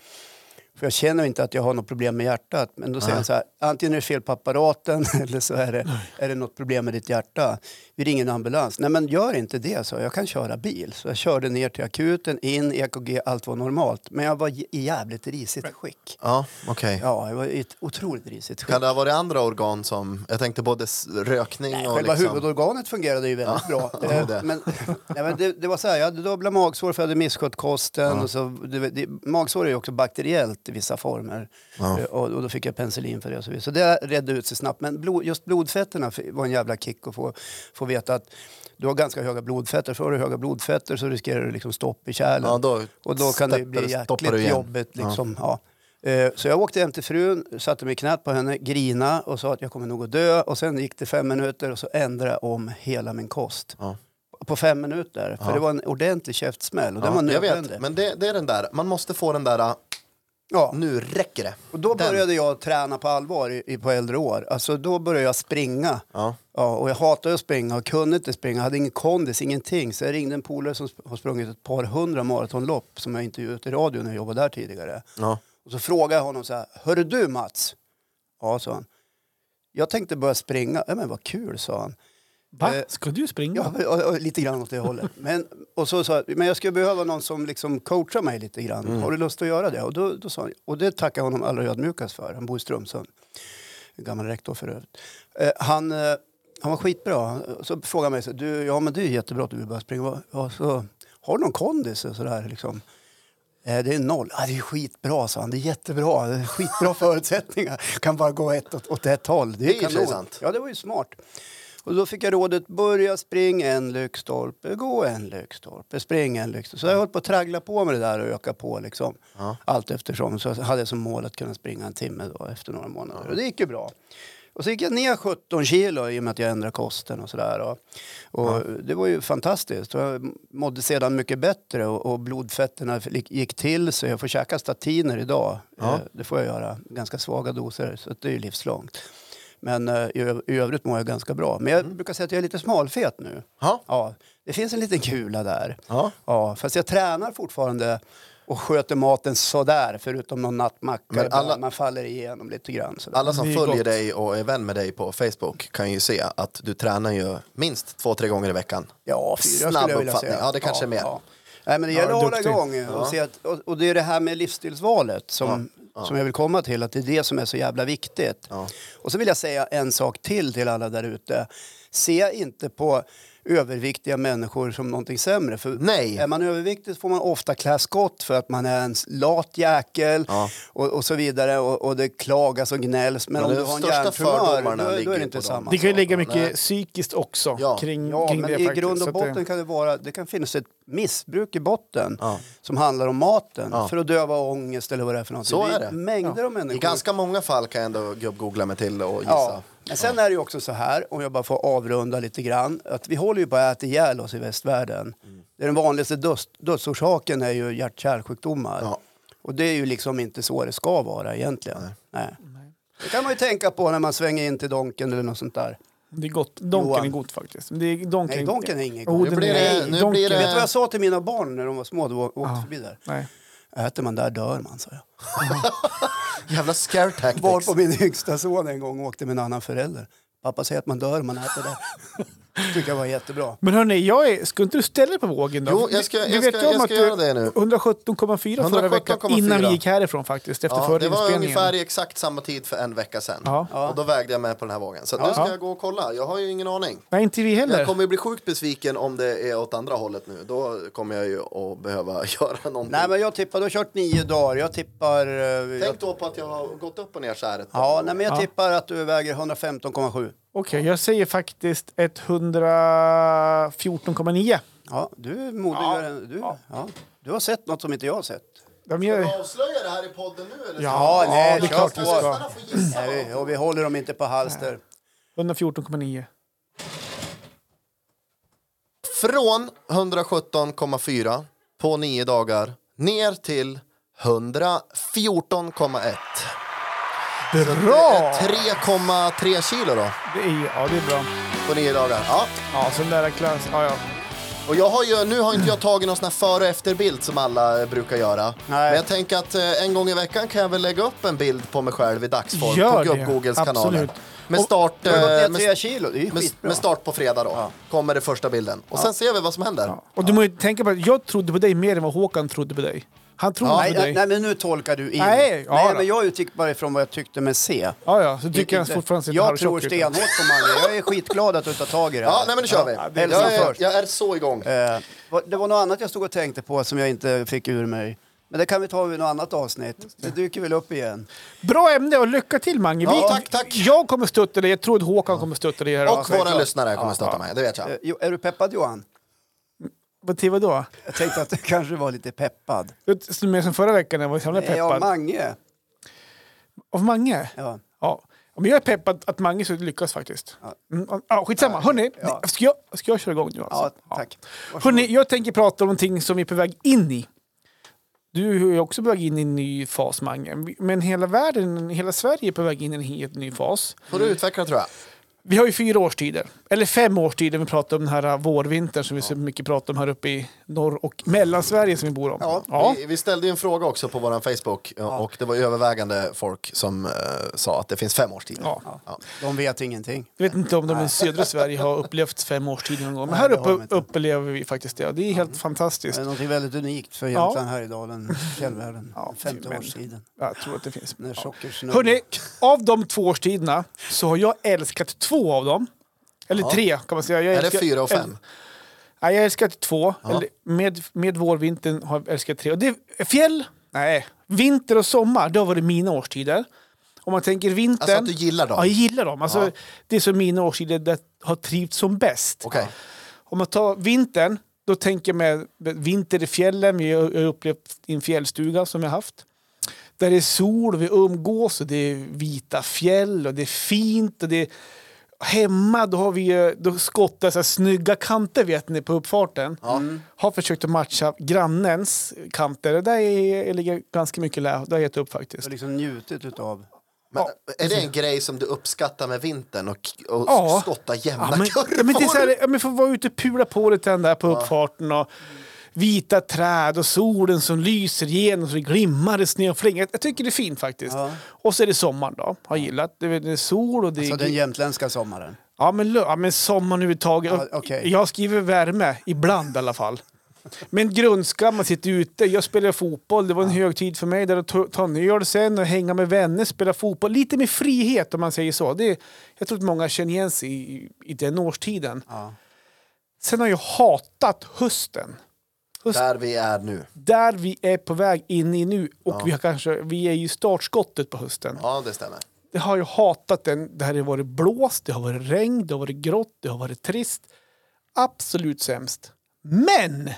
Speaker 1: För jag känner inte att jag har något problem med hjärtat. Men då säger han så här, antingen är det fel på apparaten eller så är det, är det något problem med ditt hjärta. Vi ringer en ambulans. Nej men gör inte det, så jag. Jag kan köra bil. Så jag körde ner till akuten, in, EKG, allt var normalt. Men jag var j- i jävligt risigt skick.
Speaker 2: Ja, okej.
Speaker 1: Ja, jag var i ett otroligt risigt skick.
Speaker 2: Kan det ha varit andra organ som, jag tänkte både s- rökning och
Speaker 1: Själva
Speaker 2: liksom...
Speaker 1: huvudorganet fungerade ju väldigt bra.
Speaker 2: det gjorde
Speaker 1: Eh, Men, nej, men det, det var så här, jag hade dubbla magsår för jag hade misskött kosten. Och så, det, det, magsår är ju också bakteriellt i vissa former. Eh, Och, och då fick jag penicillin för det. Och så, vidare. så det redde ut sig snabbt. Men blod, just blodfetterna f- var en jävla kick att få, få veta att du har ganska höga blodfetter. För har du höga blodfetter så riskerar du liksom stopp i kärlen.
Speaker 2: Ja, då
Speaker 1: och då kan det ju
Speaker 2: steppar-
Speaker 1: bli
Speaker 2: stoppar du
Speaker 1: jäkligt
Speaker 2: igen.
Speaker 1: jobbigt. Liksom. Ja. Eh, Så jag åkte hem till frun, satte mig i knät på henne, grina och sa att jag kommer nog att dö. Och sen gick det fem minuter och så ändrade jag om hela min kost.
Speaker 2: Ja.
Speaker 1: På fem minuter. För det var en ordentlig käftsmäll och den var
Speaker 2: jag
Speaker 1: nödvändig.
Speaker 2: vet, men det, det är den där, man måste få den där,
Speaker 1: Ja.
Speaker 2: Nu räcker det.
Speaker 1: Och då
Speaker 2: Den.
Speaker 1: började jag träna på allvar i, i, på äldre år. Alltså då började jag springa.
Speaker 2: Ja.
Speaker 1: och jag hatade att springa och kunde inte springa. Jag hade ingen kondis, ingenting. Så jag ringde en polare som sp- har sprungit ett par hundra maratonlopp som jag intervjuade ut i radio när jag jobbade där tidigare.
Speaker 2: Ja.
Speaker 1: Och så frågade jag honom så här, hörru du Mats? Ja, sa han. Jag tänkte börja springa. Ja, men vad kul, sa han.
Speaker 3: Va?
Speaker 1: Eh,
Speaker 3: Ska du springa?
Speaker 1: Ja, och, och, lite grann åt det hållet. Men, och så sa jag, men jag skulle behöva någon som liksom coachar mig lite grann. Har du lust att göra det? Och, då, då sa han, och det tackar jag honom allra ödmjukast för. Han bor i Strömsund. En Gammal rektor för övrigt. Eh, han, eh, han var skitbra. Han- Så frågade han mig, så, här, du, ja men det är jättebra att du vill börja springa. Vad- Ja, så, har du någon kondis? Och sådär, liksom. Eh, Det är noll. Ah, det är skitbra, sa han. Det är jättebra. Det är skitbra förutsättningar. Kan bara gå ett, åt, åt ett håll. Det är,
Speaker 2: Det är i och för sig
Speaker 1: kanon.
Speaker 2: sant.
Speaker 1: Ja, det var ju smart. Och då fick jag rådet börja springa en lyktstolpe, gå en lyktstolpe, springa en lyktstolpe. Så jag höll på att traggla på med det där och öka på liksom. Allt eftersom. Så hade jag som mål att kunna springa en timme då, efter några månader. Och det gick ju bra. Och så gick jag ner 17 kilo i och med att jag ändrade kosten och sådär. Och, och Det var ju fantastiskt. Och jag mådde sedan mycket bättre och, och blodfetterna gick- gick till så jag får käka statiner idag. Eh, Det får jag göra. Ganska svaga doser, så att det är ju livslångt. Men eh, i, ö- i övrigt mår jag ganska bra. Men jag
Speaker 2: Mm.
Speaker 1: brukar säga att jag är lite smalfet nu.
Speaker 2: Ja.
Speaker 1: Ja, det finns en liten kula där.
Speaker 2: Ja.
Speaker 1: Ja, fast jag tränar fortfarande och sköter maten sådär, förutom någon nattmacka.
Speaker 2: Men
Speaker 1: ibland.
Speaker 2: alla-
Speaker 1: Man faller igenom lite grann. Sådär.
Speaker 2: Alla som
Speaker 3: Det är
Speaker 2: följer
Speaker 3: gott.
Speaker 2: dig och är vän med dig på Facebook kan ju se att du tränar ju minst två, tre gånger i veckan.
Speaker 1: Ja, fyra
Speaker 2: Snabb
Speaker 1: skulle jag vilja
Speaker 2: uppfattning.
Speaker 1: säga.
Speaker 2: Ja, det kanske är mer.
Speaker 1: Nej, men det
Speaker 3: Ja,
Speaker 1: gäller att hålla
Speaker 3: duktig.
Speaker 1: igång. Och, se att, och, och det är det här med livsstilsvalet som, som jag vill komma till, att det är det som är så jävla viktigt. Och så vill jag säga en sak till till alla där ute. Se inte på överviktiga människor som någonting sämre. För
Speaker 2: Nej.
Speaker 1: Är man överviktig får man ofta klä skott för att man är en lat jäkel
Speaker 2: Ja.
Speaker 1: och, och så vidare. Och, och det klagas och gnälls. Men
Speaker 2: Ja,
Speaker 1: om
Speaker 2: de
Speaker 1: du har en
Speaker 2: största
Speaker 1: hjärntumör,
Speaker 2: fördomarna
Speaker 1: då, då
Speaker 2: ligger
Speaker 1: är
Speaker 2: ju
Speaker 1: det inte
Speaker 2: på dem.
Speaker 1: samma
Speaker 3: Det kan ju
Speaker 1: sak.
Speaker 3: ligga mycket psykiskt också
Speaker 2: Ja.
Speaker 3: kring,
Speaker 1: alltså, Ja,
Speaker 3: Mm, kring
Speaker 1: men
Speaker 3: det
Speaker 1: i
Speaker 3: faktiskt.
Speaker 1: grund
Speaker 3: Så
Speaker 1: och
Speaker 3: att
Speaker 1: botten
Speaker 3: det-
Speaker 1: kan det vara, det kan finnas ett missbruk i botten
Speaker 2: Ja.
Speaker 1: som handlar om maten
Speaker 2: Ja.
Speaker 1: för att döva ångest eller vad det är för någonting.
Speaker 2: Så är
Speaker 1: Det
Speaker 2: det.
Speaker 1: mängder av människor.
Speaker 2: I ganska många fall kan jag ändå gubb-googla mig till och gissa.
Speaker 1: ja. Men sen är det ju också så här, om jag bara får avrunda lite grann, att vi håller ju på att äta ihjäl oss i västvärlden. Det är den vanligaste döds, dödsorsaken är ju hjärt-kärlsjukdomar.
Speaker 2: Ja.
Speaker 1: Och det är ju liksom inte så det ska vara egentligen. Nej. Det kan man ju tänka på när man svänger in till Donken eller något sånt där.
Speaker 3: Det är gott. Donken
Speaker 1: Johan.
Speaker 3: är god faktiskt. Det är donken,
Speaker 1: Nej, Donken är ingen
Speaker 3: Jo,
Speaker 1: god.
Speaker 3: den
Speaker 2: Nu blir
Speaker 3: är-
Speaker 2: det- nu
Speaker 3: Donken-
Speaker 2: blir det-
Speaker 1: Vet du vad jag sa till mina barn när de var små? Då åkte
Speaker 3: Ja.
Speaker 1: förbi där.
Speaker 3: Nej.
Speaker 1: Äter man där dör man, sa jag.
Speaker 2: Jävla scare tactics.
Speaker 1: Var på min yngsta son en gång åkte med en annan förälder. Pappa säger att man dör om man äter det. tycker jag var jättebra.
Speaker 3: Men hörni, jag är, ska inte du ställa dig på vågen då?
Speaker 2: Jo, jag ska-
Speaker 3: Du
Speaker 2: jag
Speaker 3: vet
Speaker 2: ska-
Speaker 3: ju om
Speaker 2: jag
Speaker 3: att
Speaker 2: ska
Speaker 3: du-
Speaker 2: göra det nu.
Speaker 3: 117,4 förra veckan
Speaker 2: 117,4.
Speaker 3: innan vi gick härifrån faktiskt, efter
Speaker 2: Ja,
Speaker 3: förra
Speaker 2: det var
Speaker 3: inspelningen.
Speaker 2: ungefär i exakt samma tid för en vecka sedan.
Speaker 3: Ja.
Speaker 2: Och då vägde jag med på den här vågen. Så att nu ska jag gå och kolla. Jag har ju ingen aning.
Speaker 3: Nej, inte vi heller.
Speaker 2: Jag kommer ju bli sjukt besviken om det är åt andra hållet nu. Då kommer jag ju att behöva göra någonting.
Speaker 1: Nej, men jag tippar, du har kört nio dagar. Jag tippar... eh, jag,
Speaker 2: Tänk då på att jag har gått upp och ner så här ett par
Speaker 1: ja,
Speaker 2: gånger.
Speaker 1: nej, men jag tippar att du väger 115,7.
Speaker 3: Okej, jag säger faktiskt 114,9.
Speaker 1: Ja, du är modigare än... Du, ja. du har sett något som inte jag har sett.
Speaker 3: De gör...
Speaker 2: Avslöja det här i podden nu eller?
Speaker 3: Ja,
Speaker 2: ska-
Speaker 1: nej,
Speaker 2: vi
Speaker 1: det är klart
Speaker 2: ska-
Speaker 1: vi ska.
Speaker 2: lyssnarna får gissa.
Speaker 1: Nej, vi- och vi håller dem inte på halster.
Speaker 3: 114,9.
Speaker 2: Från 117,4 på nio dagar ner till 114,1.
Speaker 3: Bra!
Speaker 2: Det är 3,3 kilo då
Speaker 3: Det är, ja, det är bra.
Speaker 2: på nio dagar. Ja.
Speaker 3: Ja, så den där klass... Ja, ja.
Speaker 2: Och jag har ju, nu har inte jag tagit någon sån här före och efterbild som alla eh, brukar göra. Men jag tänker att eh, en gång i veckan kan jag väl lägga upp en bild på mig själv i dagsform
Speaker 3: Gör
Speaker 2: på
Speaker 3: det.
Speaker 2: Gubb-Googles kanaler.
Speaker 3: Absolut.
Speaker 2: Med start,
Speaker 1: Du har
Speaker 2: eh,
Speaker 1: gått ner
Speaker 2: med,
Speaker 1: tre kilo. Det är ju
Speaker 2: med,
Speaker 1: skitbra.
Speaker 2: med start på fredag då. Kommer den första bilden. Och sen ser vi vad som händer.
Speaker 3: Och du måste ju tänka på att jag trodde på dig mer än vad Håkan trodde på dig. Han trodde
Speaker 1: Nej,
Speaker 3: på dig.
Speaker 1: nej, nej, men nu tolkar du in.
Speaker 3: Nej, ja
Speaker 1: nej
Speaker 3: då.
Speaker 1: men jag utgick bara ifrån vad jag tyckte mig se.
Speaker 3: Ja, ja, så tycker han
Speaker 1: Inte-
Speaker 3: fortfarande sitter
Speaker 1: Jag
Speaker 3: halvtjock
Speaker 1: tror
Speaker 3: ut.
Speaker 1: stenhårt på Mange. Jag är skitglad att du tar tag i det här.
Speaker 2: Ja, nej men nu kör vi.
Speaker 1: det är
Speaker 2: jag,
Speaker 1: liksom
Speaker 2: är,
Speaker 1: först.
Speaker 2: jag är så igång.
Speaker 1: Eh, vad- Det var något annat jag stod och tänkte på som jag inte fick ur mig. Men det kan vi ta vid något annat avsnitt. Det dyker väl upp igen.
Speaker 3: Bra ämne och lycka till Mange.
Speaker 2: Ja, tack, tack.
Speaker 3: Jag kommer stötta dig, jag tror att Håkan kommer stötta dig. Här
Speaker 2: Och
Speaker 3: också.
Speaker 2: våra lyssnare kommer stötta mig, det vet jag.
Speaker 1: Eh, Jo, är du peppad Johan?
Speaker 3: Vad till vadå?
Speaker 1: Jag tänkte att du kanske var lite peppad.
Speaker 3: Det är Mer som förra veckan när jag var så jävla
Speaker 1: Nej, Ja,
Speaker 3: peppad.
Speaker 1: Mange.
Speaker 3: Av Mange?
Speaker 1: Ja.
Speaker 3: Ja. Ja, Men jag är peppad att Mange skulle lyckas faktiskt. Mm, ja, skitsamma, hörni.
Speaker 1: Ja.
Speaker 3: Ska, jag, ska jag köra igång nu? Alltså?
Speaker 1: Ja, tack.
Speaker 3: Hörni, jag tänker prata om någonting som vi är på väg in i. Du är ju också på väg in i en ny fas, Mange. Men hela världen, hela Sverige är på väg in i en helt ny fas.
Speaker 2: Får du utveckla tror jag.
Speaker 3: Vi har ju fyra årstider, eller fem årstider. Vi pratar om den här äh, vårvintern som vi så mycket pratar om här uppe i norr och mellansverige som vi bor om.
Speaker 2: Ja, Vi, vi ställde ju en fråga också på vår Facebook ja. och det var övervägande folk som eh, sa att det finns fem årstider.
Speaker 3: Ja.
Speaker 2: Ja.
Speaker 1: De vet ingenting.
Speaker 3: Jag vet inte om de i södra Sverige har upplevt fem årstider någon gång. Men
Speaker 1: Nej,
Speaker 3: här
Speaker 1: det har de
Speaker 3: uppe
Speaker 1: inte.
Speaker 3: upplever vi faktiskt det. Det är helt
Speaker 1: Det
Speaker 3: fantastiskt.
Speaker 1: är något Eh, väldigt unikt för
Speaker 3: Ja.
Speaker 1: Jämtland, Härjedalen, fjällvärlden.
Speaker 3: Ja,
Speaker 1: femte
Speaker 3: men-
Speaker 1: årstiden.
Speaker 3: Jag tror att det finns.
Speaker 1: När sockersnö...
Speaker 3: Hörrni, av de två årstiderna så har jag älskat två av dem. Eller tre kan man säga. Jag
Speaker 2: Är det
Speaker 3: älskar-
Speaker 2: fyra och fem?
Speaker 3: Nej, jag har älskat två. Eller med, med vårvintern har jag älskat tre. Och det är fjäll, nej, vinter och sommar, det har varit mina årstider. Om man tänker vintern...
Speaker 2: Alltså att du gillar dem?
Speaker 3: Ja, jag gillar dem. Alltså,
Speaker 2: Ja.
Speaker 3: Det är som mina årstider där jag har trivts som bäst.
Speaker 2: Okej.
Speaker 3: Om man tar vintern, då tänker jag mig vinter i fjällen. Vi har jag har upplevt i en fjällstuga som jag haft. Där det är sol och vi umgås och det är vita fjäll och det är fint. Och det är... Hemma då har vi ju- då skottar så här snygga kanter vet ni på uppfarten. Har försökt att matcha grannens kanter. Det där är, jag ligger ganska mycket lä. Det har jag gett upp
Speaker 1: Jag
Speaker 3: faktiskt.
Speaker 1: har liksom njutit utav...
Speaker 2: Men Är det en grej som du uppskattar med vintern och, och
Speaker 3: Ja.
Speaker 2: skotta jämna
Speaker 3: Ja, men,
Speaker 2: kurvor?
Speaker 3: ja, men det är så här, ja, men får vara ute och pula på lite den där på uppfarten och vita träd och solen som lyser igenom så det glimmar i snöflingan. Jag, jag tycker det är fint faktiskt. Och så är det sommaren då, har jag gillat. Det är, det är sol och det är...
Speaker 1: Så alltså den jämtländska sommaren.
Speaker 3: ja, men, lö- ja, men sommaren överhuvudtaget.
Speaker 1: Ja, okej.
Speaker 3: Jag skriver värme, ibland i alla fall. Men grundskam, man sitter ute. Jag spelar fotboll, det var en högtid för mig. Där att ta- ta en öl sen och hänga med vänner, spela fotboll. Lite mer frihet om man säger så. Det, jag tror att många känner igen sig i, i den årstiden.
Speaker 1: Ja.
Speaker 3: Sen har jag hatat hösten.
Speaker 2: Där vi är nu.
Speaker 3: Där vi är på väg in i nu och vi, har kanske, vi är ju startskottet på hösten.
Speaker 2: Ja, det stämmer.
Speaker 3: Det har jag hatat den. Det här har varit blåst, det har varit regn, det har varit grått, det har varit trist. Absolut sämst. Men!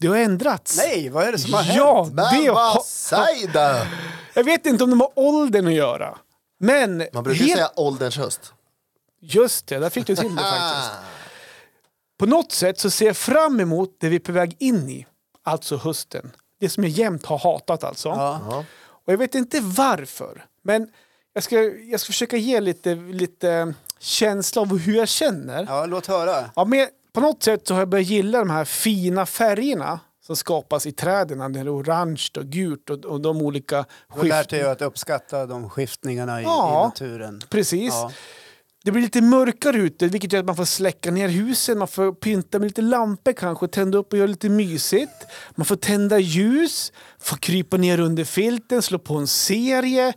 Speaker 3: Det har ändrats.
Speaker 1: Nej, vad är det som har hänt?
Speaker 3: ja, det
Speaker 2: Men
Speaker 3: har,
Speaker 2: vad säg då?
Speaker 3: Jag vet inte om de har åldern att göra. Men
Speaker 2: Man brukar
Speaker 3: helt-
Speaker 2: säga ålderns höst.
Speaker 3: Just det, där fick du till det faktiskt. På något sätt så ser jag fram emot det vi är på väg in i, alltså hösten. Det som jag jämt har hatat alltså.
Speaker 2: Ja.
Speaker 3: Och jag vet inte varför, men jag ska, jag ska försöka ge lite, lite känsla av hur jag känner. Ja.
Speaker 1: Ja, låt höra.
Speaker 3: men på något sätt så har jag börjat gilla de här fina färgerna som skapas i träden, det är orange och gult och, och de olika
Speaker 1: Du har lärt
Speaker 3: skiften.
Speaker 1: dig att uppskatta de skiftningarna i,
Speaker 3: Ja.
Speaker 1: i naturen.
Speaker 3: Precis.
Speaker 1: Ja.
Speaker 3: Det blir lite mörkare ute, vilket gör att man får släcka ner husen. Man får pynta med lite lampor kanske, tända upp och göra lite mysigt. Man får tända ljus, får krypa ner under filten, slå på en serie.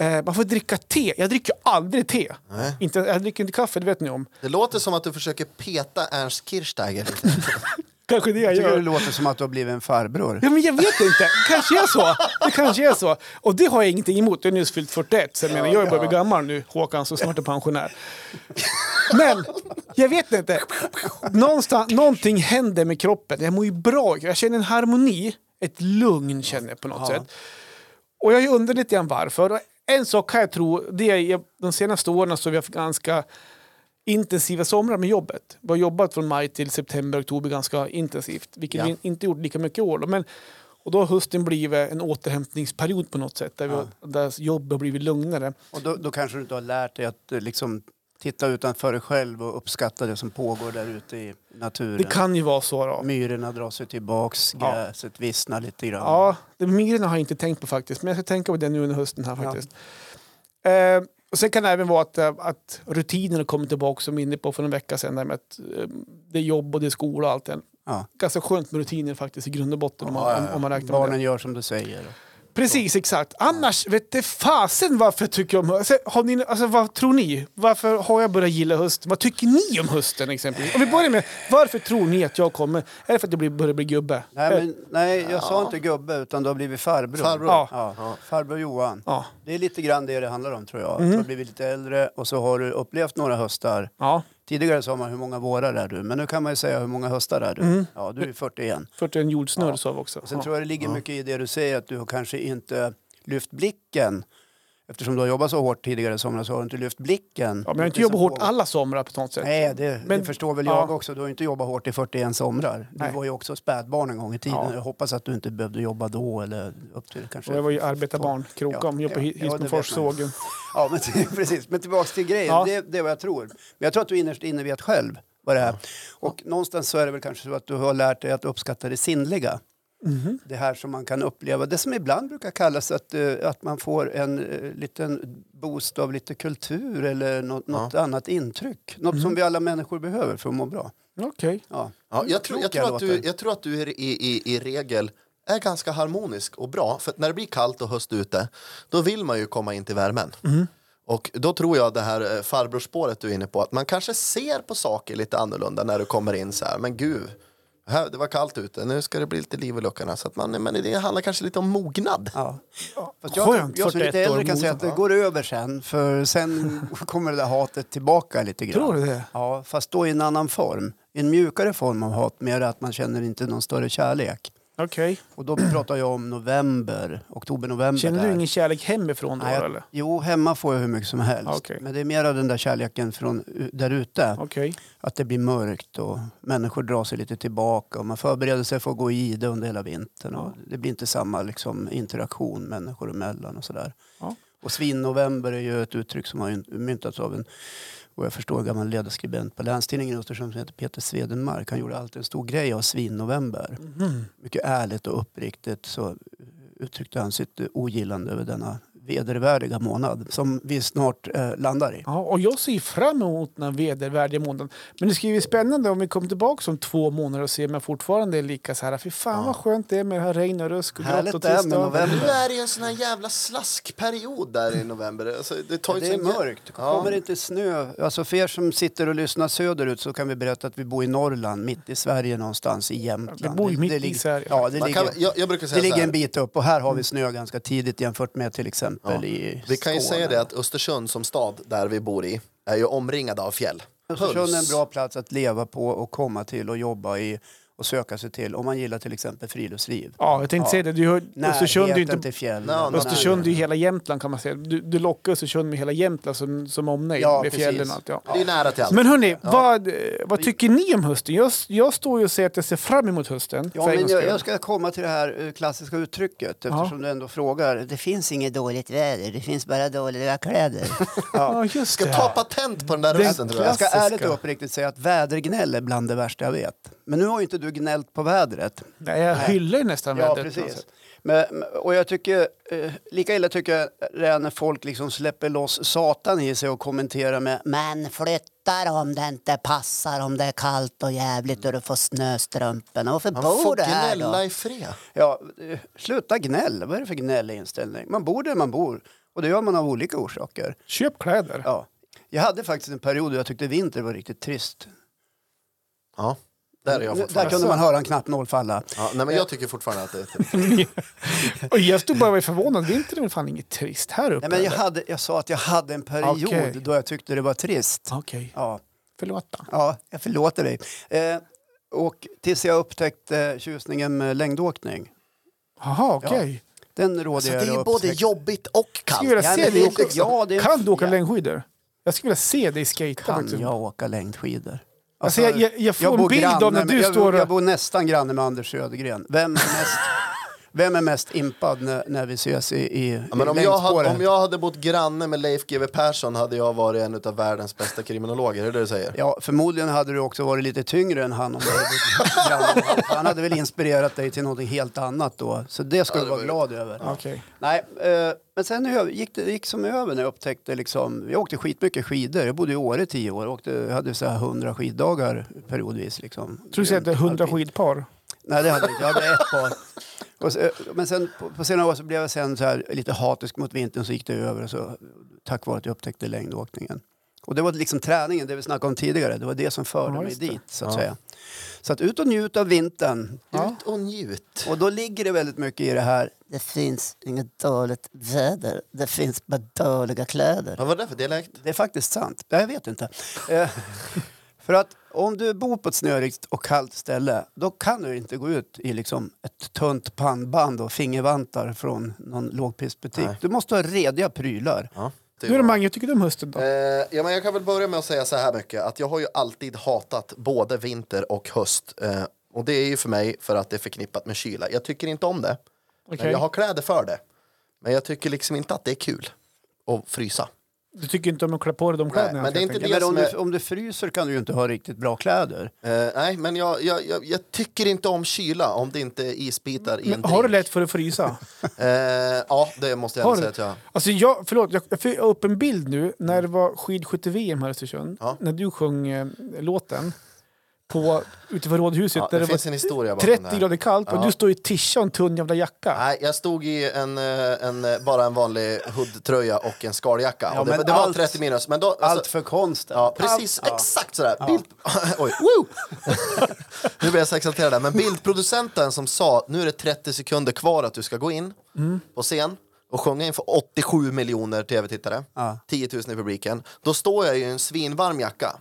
Speaker 3: Eh, man får dricka te. Jag dricker aldrig te. Inte, jag dricker inte kaffe, det vet ni om.
Speaker 2: Det låter som att du försöker peta Ernst Kirchsteiger lite.
Speaker 3: Kanske det jag
Speaker 1: Jag tycker
Speaker 3: gör.
Speaker 1: det låter som att du har blivit en farbror.
Speaker 3: Ja, men jag vet inte. kanske är så. Det kanske är så. Och det har jag ingenting emot. Jag har nyss fyllt 41, så jag menar, jag är bara bli gammal nu, Håkan, så snart är pensionär. Men jag vet inte. Någonstans, någonting händer med kroppen. Jag mår ju bra. Jag känner en harmoni, ett lugn känner jag på något sätt. Och jag undrar lite grann varför. Och En sak kan jag tro, det är jag- de senaste åren så har vi haft ganska intensiva somrar med jobbet. Vi har jobbat från maj till september, oktober ganska intensivt, vilket
Speaker 2: Ja.
Speaker 3: vi inte gjort lika mycket i år. Då. Men, och då har hösten blivit en återhämtningsperiod på något sätt, där, vi, har- där jobbet har blivit lugnare.
Speaker 1: Och då, då kanske du inte har lärt dig att eh, liksom, titta utanför dig själv och uppskatta det som pågår där ute i naturen.
Speaker 3: Det kan ju vara så. Då.
Speaker 1: Myrorna drar sig tillbaks,
Speaker 3: Ja.
Speaker 1: gräset vissnar lite grann.
Speaker 3: Ja, det- migrän har jag inte tänkt på faktiskt, men jag ska tänka på det nu under hösten här faktiskt. Eh, och sen kan det även vara att, eh, att rutinen har kommit tillbaka som vi var inne på för en vecka sedan, där med att eh, det är jobb och det är skola och allt det.
Speaker 1: Ja.
Speaker 3: Ganska skönt med rutiner faktiskt i grund och botten om,
Speaker 2: Ja,
Speaker 3: man,
Speaker 2: ja,
Speaker 3: om,
Speaker 2: ja.
Speaker 3: om man räknar med det.
Speaker 1: Barnen gör som du säger.
Speaker 3: Precis, exakt. Annars vet det fasen varför jag tycker om hösten. Alltså, har ni, alltså, vad tror ni? Varför har jag börjat gilla hösten? Vad tycker ni om hösten exempelvis? Om vi börjar med, varför tror ni att jag kommer? Är det för att jag blir, börjar bli gubbe? Eh,
Speaker 1: Nej, men, nej jag sa inte gubbe, utan du har blivit farbror.
Speaker 2: Farbror.
Speaker 1: Ja.
Speaker 3: Ja.
Speaker 1: Farbror Johan.
Speaker 3: Ja. Mhm.
Speaker 1: Det är lite grann det det handlar om, tror jag. Du har blivit lite äldre och så har du upplevt några höstar.
Speaker 3: Ja,
Speaker 1: Tidigare sa man hur många vårar är du, men nu kan man ju säga hur många höstar är du. Ja, du är 41.
Speaker 3: 41 jordsnurr sa vi också.
Speaker 1: Sen
Speaker 3: Mm. Ja.
Speaker 1: tror jag det ligger mycket i det du säger att du har kanske inte lyft blicken eftersom du har jobbat så hårt tidigare i somras så har du inte lyft blicken.
Speaker 3: Ja, men jag har inte
Speaker 1: Det
Speaker 3: jobbat
Speaker 1: som
Speaker 3: hårt
Speaker 1: pågår.
Speaker 3: alla somrar på något sätt.
Speaker 1: Nej, det,
Speaker 3: Men-
Speaker 1: det förstår väl
Speaker 3: ja.
Speaker 1: jag också. Du har ju inte jobbat hårt i 41 somrar. Du
Speaker 3: Nej.
Speaker 1: var ju också spädbarn en gång i tiden.
Speaker 3: Ja.
Speaker 1: Jag hoppas att du inte behövde jobba då eller upp till kanske...
Speaker 3: Och jag var ju arbetarbarn, Krokom,
Speaker 1: Ja,
Speaker 3: jobbade
Speaker 1: ja,
Speaker 3: i
Speaker 1: ja, det
Speaker 3: Hispelfors
Speaker 1: vet man.
Speaker 3: sågen.
Speaker 1: Ja, men precis. Men tillbaks till grejen.
Speaker 3: Ja.
Speaker 1: Det, det är vad jag tror. Men jag tror att du innerst inne vet själv vad det är. Och någonstans så är det väl kanske så att du har lärt dig att uppskatta det sinnliga. Det här som man kan uppleva. Det som ibland brukar kallas att, eh, att man får en eh, liten boost av lite kultur eller något, något annat intryck. Något som vi alla människor behöver för att må bra.
Speaker 3: Okej.
Speaker 1: Ja.
Speaker 2: Ja, jag, tror, jag,
Speaker 1: Kloka
Speaker 2: tror att du,
Speaker 1: låtar.
Speaker 2: jag tror att du är i, i, i regel är ganska harmonisk och bra. För att när det blir kallt och höst ute, då vill man ju komma in till värmen.
Speaker 1: Mm.
Speaker 2: Och då tror jag det här eh, farbrorspåret du är inne på, att man kanske ser på saker lite annorlunda när du kommer in så här, men gud, här, det var kallt ute, nu ska det bli lite liv i luckorna. Så att man, men det handlar kanske lite om mognad.
Speaker 1: Ja. Fast jag,
Speaker 3: Skönt,
Speaker 1: jag som
Speaker 3: 41
Speaker 1: lite
Speaker 3: år
Speaker 1: äldre kan
Speaker 3: mogen.
Speaker 1: säga att det går över sen, för sen kommer det där hatet tillbaka lite grann.
Speaker 3: Tror du det?
Speaker 1: Ja, fast då i en annan form. I En mjukare form av hat, mer att man känner inte någon större kärlek.
Speaker 3: Okej.
Speaker 1: Och då pratar jag om november, oktober-november.
Speaker 3: Känner
Speaker 1: där.
Speaker 3: du ingen kärlek hemifrån då
Speaker 1: Nej, jag-
Speaker 3: eller? Ah,
Speaker 1: Jo, hemma får jag hur mycket som helst.
Speaker 3: Okej.
Speaker 1: Men det är mer av den där kärleken från u- där ute.
Speaker 3: Okej.
Speaker 1: Att det blir mörkt och människor drar sig lite tillbaka. Och man förbereder sig för att gå i det under hela vintern. Och det blir inte samma liksom, interaktion människor emellan och sådär.
Speaker 3: Ja.
Speaker 1: Och svinnovember är ju ett uttryck som har ju myntats av en, och jag förstår, gammal ledarskribent på Länstidningen i Östersund som heter Peter Swedenmark. Han gjorde alltid en stor grej av svinnovember. Mycket ärligt och uppriktigt så uttryckte han sitt eh, ogillande över denna vedervärdiga månad som vi snart eh, landar i.
Speaker 3: Ja, och jag ser fram emot den här vedervärdiga månaden. Men det ska ju bli spännande om vi kommer tillbaka om två månader och ser om jag fortfarande är lika så här. Fy fan vad skönt det är med det här regn och rusk och grått
Speaker 1: Härligt
Speaker 3: och
Speaker 1: det är
Speaker 3: trist.
Speaker 1: med
Speaker 3: och-
Speaker 2: Nu
Speaker 1: november.
Speaker 2: är det ju en sån här jävla slaskperiod där i november. Alltså, det, tar ju
Speaker 1: Det är
Speaker 2: sån jä-
Speaker 1: mörkt.
Speaker 2: Ja.
Speaker 1: Kommer det inte snö? Alltså för er som sitter och lyssnar söderut så kan vi berätta att vi bor i Norrland, mitt i Sverige någonstans i Jämtland.
Speaker 3: Vi bor ju mitt i
Speaker 1: ligger-
Speaker 3: Sverige. Mm.
Speaker 1: Ja, det
Speaker 2: Man
Speaker 1: ligger,
Speaker 2: kan, jag, jag brukar säga
Speaker 1: det
Speaker 2: så
Speaker 1: ligger
Speaker 2: här.
Speaker 1: en bit upp och här har vi snö ganska tidigt jämfört med till exempel
Speaker 2: Ja.
Speaker 1: i
Speaker 2: Vi kan ju
Speaker 1: Skåne.
Speaker 2: säga det att Östersund som stad där vi bor i är ju omringad av fjäll.
Speaker 1: Östersund är en
Speaker 2: Puls.
Speaker 1: bra plats att leva på och komma till och jobba i och söka sig till om man gillar till exempel friluftsliv.
Speaker 3: Ja, jag tänkte säga det. Du hör, Östersund är ju
Speaker 1: Närheten
Speaker 3: inte...
Speaker 1: till fjällen.
Speaker 2: Ja,
Speaker 1: närheten.
Speaker 3: Östersund är ju hela Jämtland kan man säga. Du, du lockar Östersund med hela Jämtland som, som omnejd.
Speaker 1: Ja,
Speaker 3: med
Speaker 1: precis.
Speaker 3: fjällen och allt. Ja.
Speaker 2: Det är nära till allt.
Speaker 3: Men hörni, vad, vad tycker ni om hösten? Jag, jag står ju och säger att jag ser fram emot hösten.
Speaker 1: Ja,
Speaker 3: för en
Speaker 1: men
Speaker 3: gångs
Speaker 1: jag,
Speaker 3: skull.
Speaker 1: jag ska komma till det här eh, klassiska uttrycket eftersom du ändå frågar. Det
Speaker 4: Det finns inget dåligt väder, det finns bara dåliga kläder.
Speaker 3: Ja, just
Speaker 2: ska
Speaker 3: det.
Speaker 2: ta patent på den där
Speaker 3: Den
Speaker 2: rösten tror jag.
Speaker 1: Jag ska
Speaker 3: Klassiska.
Speaker 1: ärligt och uppriktigt säga att vädergnäll är bland det värsta jag vet. Men nu har ju inte du gnällt på vädret.
Speaker 3: Nej, jag hyllar ju nästan
Speaker 1: Ja,
Speaker 3: vädret. på något
Speaker 1: precis.
Speaker 3: sätt.
Speaker 1: Men, och jag tycker, eh, lika illa tycker jag det är när folk liksom släpper loss satan i sig och kommenterar med
Speaker 4: Men flyttar om det inte passar, om det är kallt och jävligt och du får snöstrumporna. Varför
Speaker 2: Man
Speaker 4: bor
Speaker 2: får
Speaker 4: du här då?
Speaker 2: gnälla i fred.
Speaker 1: ja, eh, sluta gnäll. Vad är det för gnällig inställning? Man bor där man bor och det gör man av olika orsaker.
Speaker 3: Köp kläder.
Speaker 1: Ja. Jag hade faktiskt en period då jag tyckte vinter var riktigt trist.
Speaker 2: Ja, där är jag
Speaker 1: Nu- Där
Speaker 2: fortfarande.
Speaker 1: kunde man höra en knappnål falla.
Speaker 2: Ja, nej, men jag tycker fortfarande att det är...
Speaker 3: Och jag stod bara och var förvånad. Vintern är väl fan inget trist här uppe?
Speaker 1: Nej, men jag,
Speaker 3: eller?
Speaker 1: hade, jag sa att jag hade en period
Speaker 3: Okej.
Speaker 1: då jag tyckte det var trist.
Speaker 3: Okej,
Speaker 1: Ja.
Speaker 3: förlåt då.
Speaker 1: Ja, jag förlåter dig. Eh, och tills jag upptäckte tjusningen med längdåkning.
Speaker 3: Jaha, okej.
Speaker 1: Den råder
Speaker 3: Alltså,
Speaker 2: Så
Speaker 1: jag
Speaker 2: det är
Speaker 1: dig
Speaker 2: ju
Speaker 1: att
Speaker 2: både
Speaker 1: upptäcka.
Speaker 2: jobbigt och
Speaker 3: Jag skulle vilja
Speaker 2: kallt.
Speaker 1: Ja,
Speaker 3: se
Speaker 1: men
Speaker 3: dig
Speaker 1: det är-
Speaker 3: åka...
Speaker 2: liksom-
Speaker 1: ja, det är-
Speaker 3: Kan du åka
Speaker 1: ja.
Speaker 3: längdskidor? Jag skulle vilja se dig liksom. skejta
Speaker 1: Kan
Speaker 3: faktiskt.
Speaker 1: jag åka längdskidor?
Speaker 3: Alltså, jag, jag, jag får en
Speaker 1: bor
Speaker 3: bild
Speaker 1: granne
Speaker 3: av när
Speaker 1: med-
Speaker 3: du
Speaker 1: jag,
Speaker 3: står
Speaker 1: Jag
Speaker 3: och...
Speaker 1: bor nästan granne med Anders Södergren. Vem är mest, vem är mest impad när, när vi ses i, i,
Speaker 2: Ja, men
Speaker 1: i
Speaker 2: om, jag hade,
Speaker 1: längdspåret?
Speaker 2: om jag hade bott granne med Leif GW Persson hade jag varit en av världens bästa kriminologer, är det det du säger?
Speaker 1: Ja, förmodligen hade du också varit lite tyngre än han om du hade bott granne med honom. Han hade väl inspirerat dig till något helt annat då. Så det ska du vara glad över.
Speaker 3: Okej.
Speaker 1: Nej, eh, men sen ö- gick det gick som över när jag upptäckte liksom, jag åkte skitmycket skidor. Jag bodde i Åre i tio år och åkte, hade så här 100 skiddagar periodvis. Liksom.
Speaker 3: Tror du säger att det är hundra skidpar?
Speaker 1: Nej, det hade jag inte. Jag hade ett par. Och så, eh, men sen på, på senare år så blev jag sen så här, lite hatisk mot vintern så gick det över och så, tack vare att jag upptäckte längdåkningen. Och det var liksom träningen, det vi snackade om tidigare. Det var det som förde
Speaker 3: Ja,
Speaker 1: mig
Speaker 3: just det.
Speaker 1: dit så att säga. Så att ut och njut av vintern.
Speaker 2: Ut och njut.
Speaker 1: Och då ligger det väldigt mycket i det här
Speaker 4: Det finns inget dåligt väder, det finns bara dåliga kläder.
Speaker 2: Vad var det för dialekt?
Speaker 1: Det är faktiskt sant. Nej, Jag vet inte. Eh, för att Om du bor på ett snörigt och kallt ställe, då kan du inte gå ut i liksom ett tunt pannband och fingervantar från någon lågprisbutik.
Speaker 2: Nej.
Speaker 1: Du måste ha rediga prylar.
Speaker 2: Ja, det
Speaker 3: Du
Speaker 2: var-
Speaker 3: då Mange, vad tycker du om hösten då?
Speaker 2: Eh, ja, men jag kan väl börja med att säga så här mycket att jag har ju alltid hatat både vinter och höst. Eh, och det är ju för mig för att det är förknippat med kyla. Jag tycker inte om det.
Speaker 3: Okej.
Speaker 2: Men jag har kläder för det. Men jag tycker liksom inte att det är kul att frysa.
Speaker 3: Du tycker inte om att klä på dig de
Speaker 2: Nej,
Speaker 3: kläderna?
Speaker 2: men det är
Speaker 3: helt
Speaker 2: inte
Speaker 1: Ja,
Speaker 3: enkelt.
Speaker 2: det
Speaker 1: men om,
Speaker 2: som
Speaker 1: du,
Speaker 2: är-
Speaker 1: om du fryser kan du ju inte ha riktigt bra kläder.
Speaker 2: Eh, nej, men jag, jag, jag, jag tycker inte om kyla om det inte är isbitar i en
Speaker 3: Men har du
Speaker 2: drink.
Speaker 3: lätt för att frysa?
Speaker 2: Eh, ja, det måste jag
Speaker 3: Har
Speaker 2: ändå
Speaker 3: du?
Speaker 2: säga att jag...
Speaker 3: Alltså jag, förlåt, jag, jag fick upp en bild nu när det var skidskytte-VM här i Östersund.
Speaker 2: Ja.
Speaker 3: När du sjöng eh, låten på, utanför Rådhuset.
Speaker 2: Ja, det,
Speaker 3: där det var
Speaker 2: finns en historia bakom det
Speaker 3: 30
Speaker 2: här.
Speaker 3: grader kallt och
Speaker 2: Ja.
Speaker 3: du står i tisha och en tunn jävla jacka.
Speaker 2: Nej, jag stod i en, eh, en, eh, bara en vanlig hoodtröja och en skaljacka.
Speaker 1: Ja,
Speaker 2: och det,
Speaker 1: men
Speaker 2: det var
Speaker 1: allt-
Speaker 2: 30 minus. Men då, alltså-
Speaker 1: Allt för konsten.
Speaker 2: Ja, precis. Exakt sådär. Bild... Oj, woo! nu blir jag så exalterad. där. Men bildproducenten som sa nu är det 30 sekunder kvar att du ska gå in på scen och sjunga inför 87 miljoner tv-tittare, 10 000 i publiken. Då står jag i en svinvarm jacka.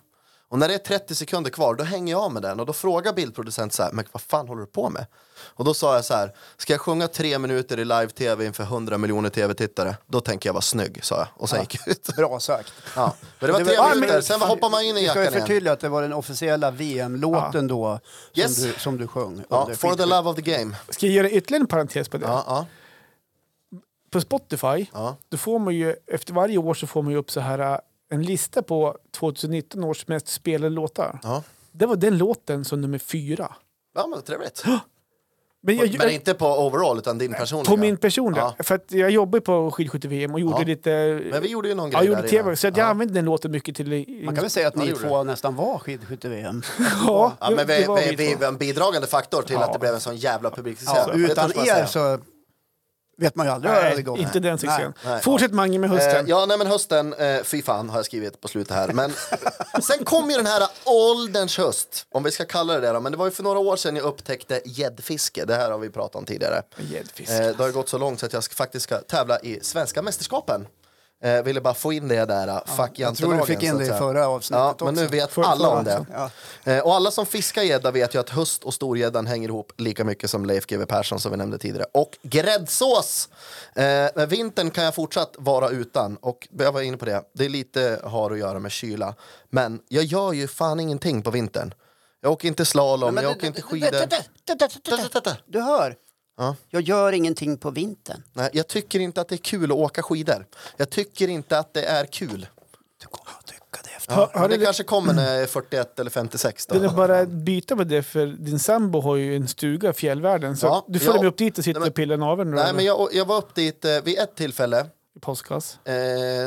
Speaker 2: Och när det är 30 sekunder kvar, då hänger jag av med den och då frågar bildproducenten så här, men vad fan håller du på med? Och då sa jag så här, ska jag sjunga tre minuter i live-tv inför 100 miljoner tv-tittare, då tänker jag vara snygg, sa jag. Och sen gick jag ut.
Speaker 1: Bra sagt.
Speaker 2: Ja, men det var
Speaker 1: Det
Speaker 2: tre
Speaker 1: var-
Speaker 2: minuter,
Speaker 1: Ja, men-
Speaker 2: sen hoppar man in i
Speaker 1: Vi ska ju
Speaker 2: jackan igen.
Speaker 1: förtydliga att det var den officiella VM-låten då som,
Speaker 2: Yes.
Speaker 1: du, som du sjöng.
Speaker 2: Ja,
Speaker 1: under
Speaker 2: for the
Speaker 1: skidor.
Speaker 2: love of the game.
Speaker 3: Ska jag göra ytterligare en parentes på det?
Speaker 2: Ja, ja,
Speaker 3: På Spotify,
Speaker 2: ja.
Speaker 3: då får man ju, efter varje år så får man ju upp så här eh, en lista på 2019 års mest spelade låtar.
Speaker 2: ja.
Speaker 3: Det var den låten som nummer fyra.
Speaker 2: ja men trevligt.
Speaker 3: Men jag,
Speaker 2: Men inte på overall, utan din personliga.
Speaker 3: på min personliga.
Speaker 2: Ja.
Speaker 3: För att jag jobbar ju på skidskytte-VM och gjorde
Speaker 2: Ja.
Speaker 3: lite...
Speaker 2: Men vi gjorde ju någon
Speaker 3: Ja, jag
Speaker 2: grej
Speaker 3: gjorde
Speaker 2: där
Speaker 3: tv,
Speaker 2: innan.
Speaker 3: så att jag använde den låten mycket till... i-
Speaker 1: Man kan väl säga att
Speaker 2: Ja, det
Speaker 1: ni
Speaker 2: gjorde
Speaker 1: två nästan var skidskytte-VM.
Speaker 3: Ja,
Speaker 2: Ja, men vi,
Speaker 3: det var
Speaker 2: vi, vi
Speaker 3: två.
Speaker 2: var en bidragande faktor till
Speaker 3: Ja.
Speaker 2: att det blev en sån jävla publiksuccé.
Speaker 1: Ja,
Speaker 2: Jag vet
Speaker 1: utan
Speaker 2: inte vad jag
Speaker 1: er
Speaker 2: säger.
Speaker 1: så vet man ju aldrig vad det hade
Speaker 3: Nej,
Speaker 1: gått.
Speaker 3: inte den succén.
Speaker 2: nej.
Speaker 3: Fortsätt Mange med hösten.
Speaker 2: Eh, ja, nej men hösten, eh, fy fan har jag skrivit på slutet här. Men sen kom ju den här ålderns höst, om vi ska kalla det det då. Men det var ju för några år sedan jag upptäckte gäddfiske. Det här har vi pratat om tidigare.
Speaker 3: Gäddfisk.
Speaker 2: Eh, det har
Speaker 1: alltså.
Speaker 2: ju gått så långt så att jag ska, faktiskt ska tävla i svenska mästerskapen. Eh, ville bara få in det där, eh, fuck
Speaker 1: Jag tror du
Speaker 2: jantelagen,
Speaker 1: fick in
Speaker 2: så att
Speaker 1: det i
Speaker 2: säga.
Speaker 1: förra avsnittet
Speaker 2: Ja,
Speaker 1: också.
Speaker 2: men nu vet
Speaker 3: Förra-
Speaker 2: alla om
Speaker 3: förra
Speaker 2: det.
Speaker 1: också.
Speaker 2: Eh, och alla som fiskar gädda vet ju att höst och storgäddan hänger ihop lika mycket som Leif GW Persson som vi nämnde tidigare. Och gräddsås! Eh, men vintern kan jag fortsatt vara utan. Och jag var inne på det, det är lite har att göra med kyla. Men jag gör ju fan ingenting på vintern. Jag åker inte slalom, jag åker inte skidor.
Speaker 1: Du hör.
Speaker 2: Ja.
Speaker 1: Jag gör ingenting på vintern.
Speaker 2: Nej, jag tycker inte att det är kul att åka skidor. Jag tycker inte att det är kul.
Speaker 1: Du kommer att tycka det efter.
Speaker 3: Hör-
Speaker 2: Men
Speaker 3: hörde
Speaker 2: det
Speaker 3: du-
Speaker 2: kanske kommer när jag är 41 eller 56. Då.
Speaker 3: Den är bara att byta på det, för din sambo har ju en stuga i fjällvärlden. Så
Speaker 2: Ja,
Speaker 3: du följer
Speaker 2: ja.
Speaker 3: med upp dit och sitter
Speaker 2: Nej, men-
Speaker 3: och pillar naveln då,
Speaker 2: Nej,
Speaker 3: eller?
Speaker 2: men jag, jag var upp dit eh, vid ett tillfälle.
Speaker 3: i påskas.
Speaker 2: Eh,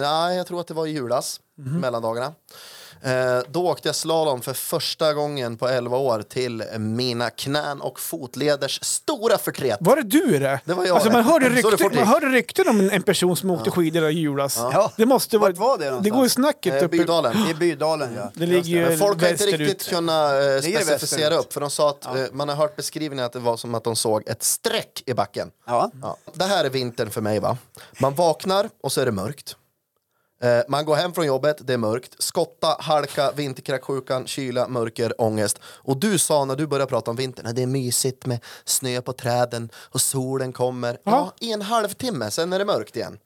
Speaker 2: nej, jag tror att det var i julas,
Speaker 3: Mhm.
Speaker 2: mellandagarna. Eh, då åkte jag slalom för första gången på 11 år till mina knän och fotleders stora förtret.
Speaker 3: Var det du det?
Speaker 2: Det var jag,
Speaker 3: Alltså,
Speaker 2: det.
Speaker 3: man, hörde
Speaker 2: Så det
Speaker 3: rykten,
Speaker 2: fortgick.
Speaker 3: man hörde rykten om en- en person som åkte skidor i julas.
Speaker 1: Ja.
Speaker 3: Det måste vara...
Speaker 1: Vart var det
Speaker 3: det
Speaker 1: någonstans?
Speaker 3: går ju snacket
Speaker 2: Eh,
Speaker 3: uppe...
Speaker 2: Bydalen.
Speaker 1: I Bydalen, ja.
Speaker 3: Det ligger ju
Speaker 2: Men folk har inte
Speaker 3: västerut.
Speaker 2: riktigt kunnat eh,
Speaker 1: västerut.
Speaker 2: specificera upp, för de sa att eh, man har hört beskrivningar att det var som att de såg ett streck i backen.
Speaker 1: Ja.
Speaker 2: Ja. Det här är vintern för mig va. Man vaknar och så är det mörkt. Eh, man går hem från jobbet, det är mörkt. Skotta, halka, vinterkräksjukan, kyla, mörker, ångest. Och du sa när du började prata om vintern, "Nej, det är mysigt med snö på träden och solen kommer. Ja,
Speaker 3: Ja.
Speaker 2: i en halvtimme, sen är det mörkt igen.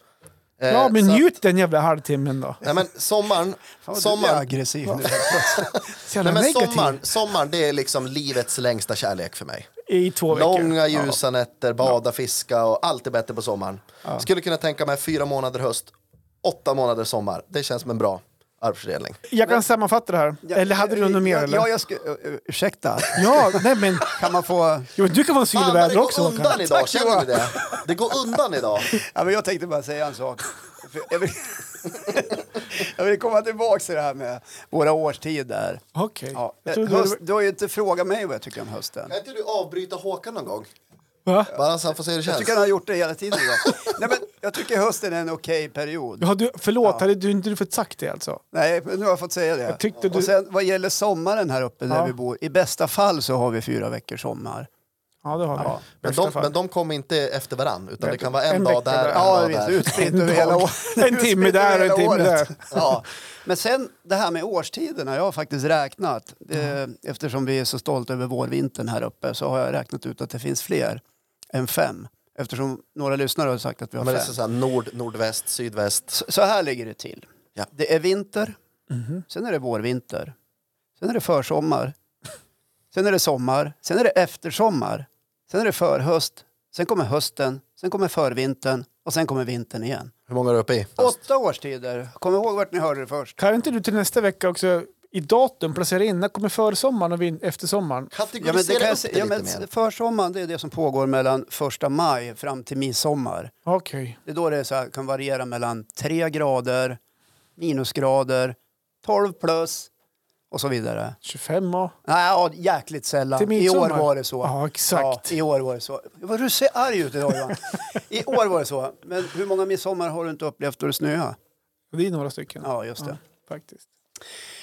Speaker 2: Eh,
Speaker 3: Ja, men
Speaker 2: så att-
Speaker 3: njut den jävla halvtimmen då.
Speaker 2: Nej men sommaren,
Speaker 1: Fan, du blir
Speaker 2: sommaren,
Speaker 1: aggressiv nu.
Speaker 3: Så jävla
Speaker 2: Nej, men
Speaker 3: negativ.
Speaker 2: sommaren, sommaren det är liksom livets längsta kärlek för mig.
Speaker 3: I två veckor.
Speaker 2: Långa ljusa nätter, bada, fiska och allt är bättre på sommaren. Skulle kunna tänka mig fyra månader höst, åtta månader sommar. Det känns som en bra arbetsfördelning.
Speaker 3: Jag kan sammanfatta det här. Eller hade
Speaker 2: eh,
Speaker 3: du något mer?
Speaker 1: Ja,
Speaker 3: eller?
Speaker 1: Ja, jag skulle... ö, ö, Ursäkta.
Speaker 3: Ja, nej men...
Speaker 1: Kan man få...
Speaker 3: Jo, du kan vara en
Speaker 2: Fan vad Ah, det
Speaker 3: sylväder
Speaker 2: går
Speaker 3: också Håkan.
Speaker 2: undan idag, känner ni det? Det går undan idag.
Speaker 1: Ja, men jag tänkte bara säga en sak. För Jag vill, jag vill komma tillbaka till det här med våra årstider.
Speaker 3: Okej.
Speaker 1: Ja.
Speaker 3: Jag
Speaker 2: eh,
Speaker 3: trodde
Speaker 1: Höst,
Speaker 3: det
Speaker 1: du har ju inte frågat mig vad jag tycker om hösten.
Speaker 2: Kan inte du avbryta Håkan någon gång?
Speaker 3: var- Va?
Speaker 2: Bara så han får se hur
Speaker 1: Jag
Speaker 2: det känns.
Speaker 1: tycker han har gjort det hela tiden idag. Nej, men jag tycker hösten är en okej period.
Speaker 3: Ja, du, förlåt, hade du inte du fått sagt det alltså?
Speaker 1: Nej, men nu har jag fått säga det.
Speaker 3: Jag tyckte du-
Speaker 1: Och sen vad gäller sommaren här uppe där
Speaker 3: Ja.
Speaker 1: vi bor, i bästa fall så har vi fyra veckors sommar.
Speaker 3: Ja, det har vi.
Speaker 1: Ja.
Speaker 3: I
Speaker 2: Men
Speaker 3: värsta
Speaker 2: de,
Speaker 3: fall.
Speaker 2: men de kommer inte efter varann, utan
Speaker 3: Nej,
Speaker 2: det kan vara en,
Speaker 3: en
Speaker 2: dag
Speaker 3: vecka
Speaker 2: där,
Speaker 3: där.
Speaker 2: en
Speaker 1: Ja,
Speaker 2: dag
Speaker 1: visst,
Speaker 2: där.
Speaker 1: utspritt över hela året.
Speaker 3: En timme där och en timme där.
Speaker 1: Ja. Men sen det här med årstiderna, jag har faktiskt räknat. Eh, Eftersom vi är så stolta över vårvintern här uppe så har jag räknat ut att det finns fler än fem. Eftersom några lyssnare har sagt att vi har
Speaker 2: Men det är
Speaker 1: fem.
Speaker 2: så här nord, nordväst, sydväst.
Speaker 1: Så- Så här ligger det till.
Speaker 2: Ja.
Speaker 1: Det är vinter, sen är det vårvinter, sen är det försommar, sen är det sommar, sen är det eftersommar, sen är det förhöst, sen kommer hösten, sen kommer förvintern och sen kommer vintern igen.
Speaker 2: Hur många är du uppe i?
Speaker 1: Åtta årstider. Kom ihåg vart ni hörde det först.
Speaker 3: Kan inte du till nästa vecka också i datum placera in, när kommer försommaren och vin- eftersommaren?
Speaker 1: Ja, men det
Speaker 2: Kategorisera
Speaker 1: kan jag,
Speaker 2: upp det
Speaker 1: se- ja,
Speaker 2: lite
Speaker 1: men
Speaker 2: mer.
Speaker 1: försommaren det är det som pågår mellan första maj fram till midsommar.
Speaker 3: Okej.
Speaker 1: Det är då det är så här, kan variera mellan 3 grader, minusgrader, 12 plus och så vidare.
Speaker 3: 25 och...
Speaker 1: Nej, ja, jäkligt
Speaker 3: Till
Speaker 1: sällan. I
Speaker 3: midsommar.
Speaker 1: år var det så.
Speaker 3: Ja, exakt.
Speaker 1: Ja, I år var det så. Vad du ser arg ut idag Johan. I år var det så. Men hur många midsommar har du inte upplevt då det snöade?
Speaker 3: Det är några stycken.
Speaker 1: Ja, just det.
Speaker 3: Ja, faktiskt.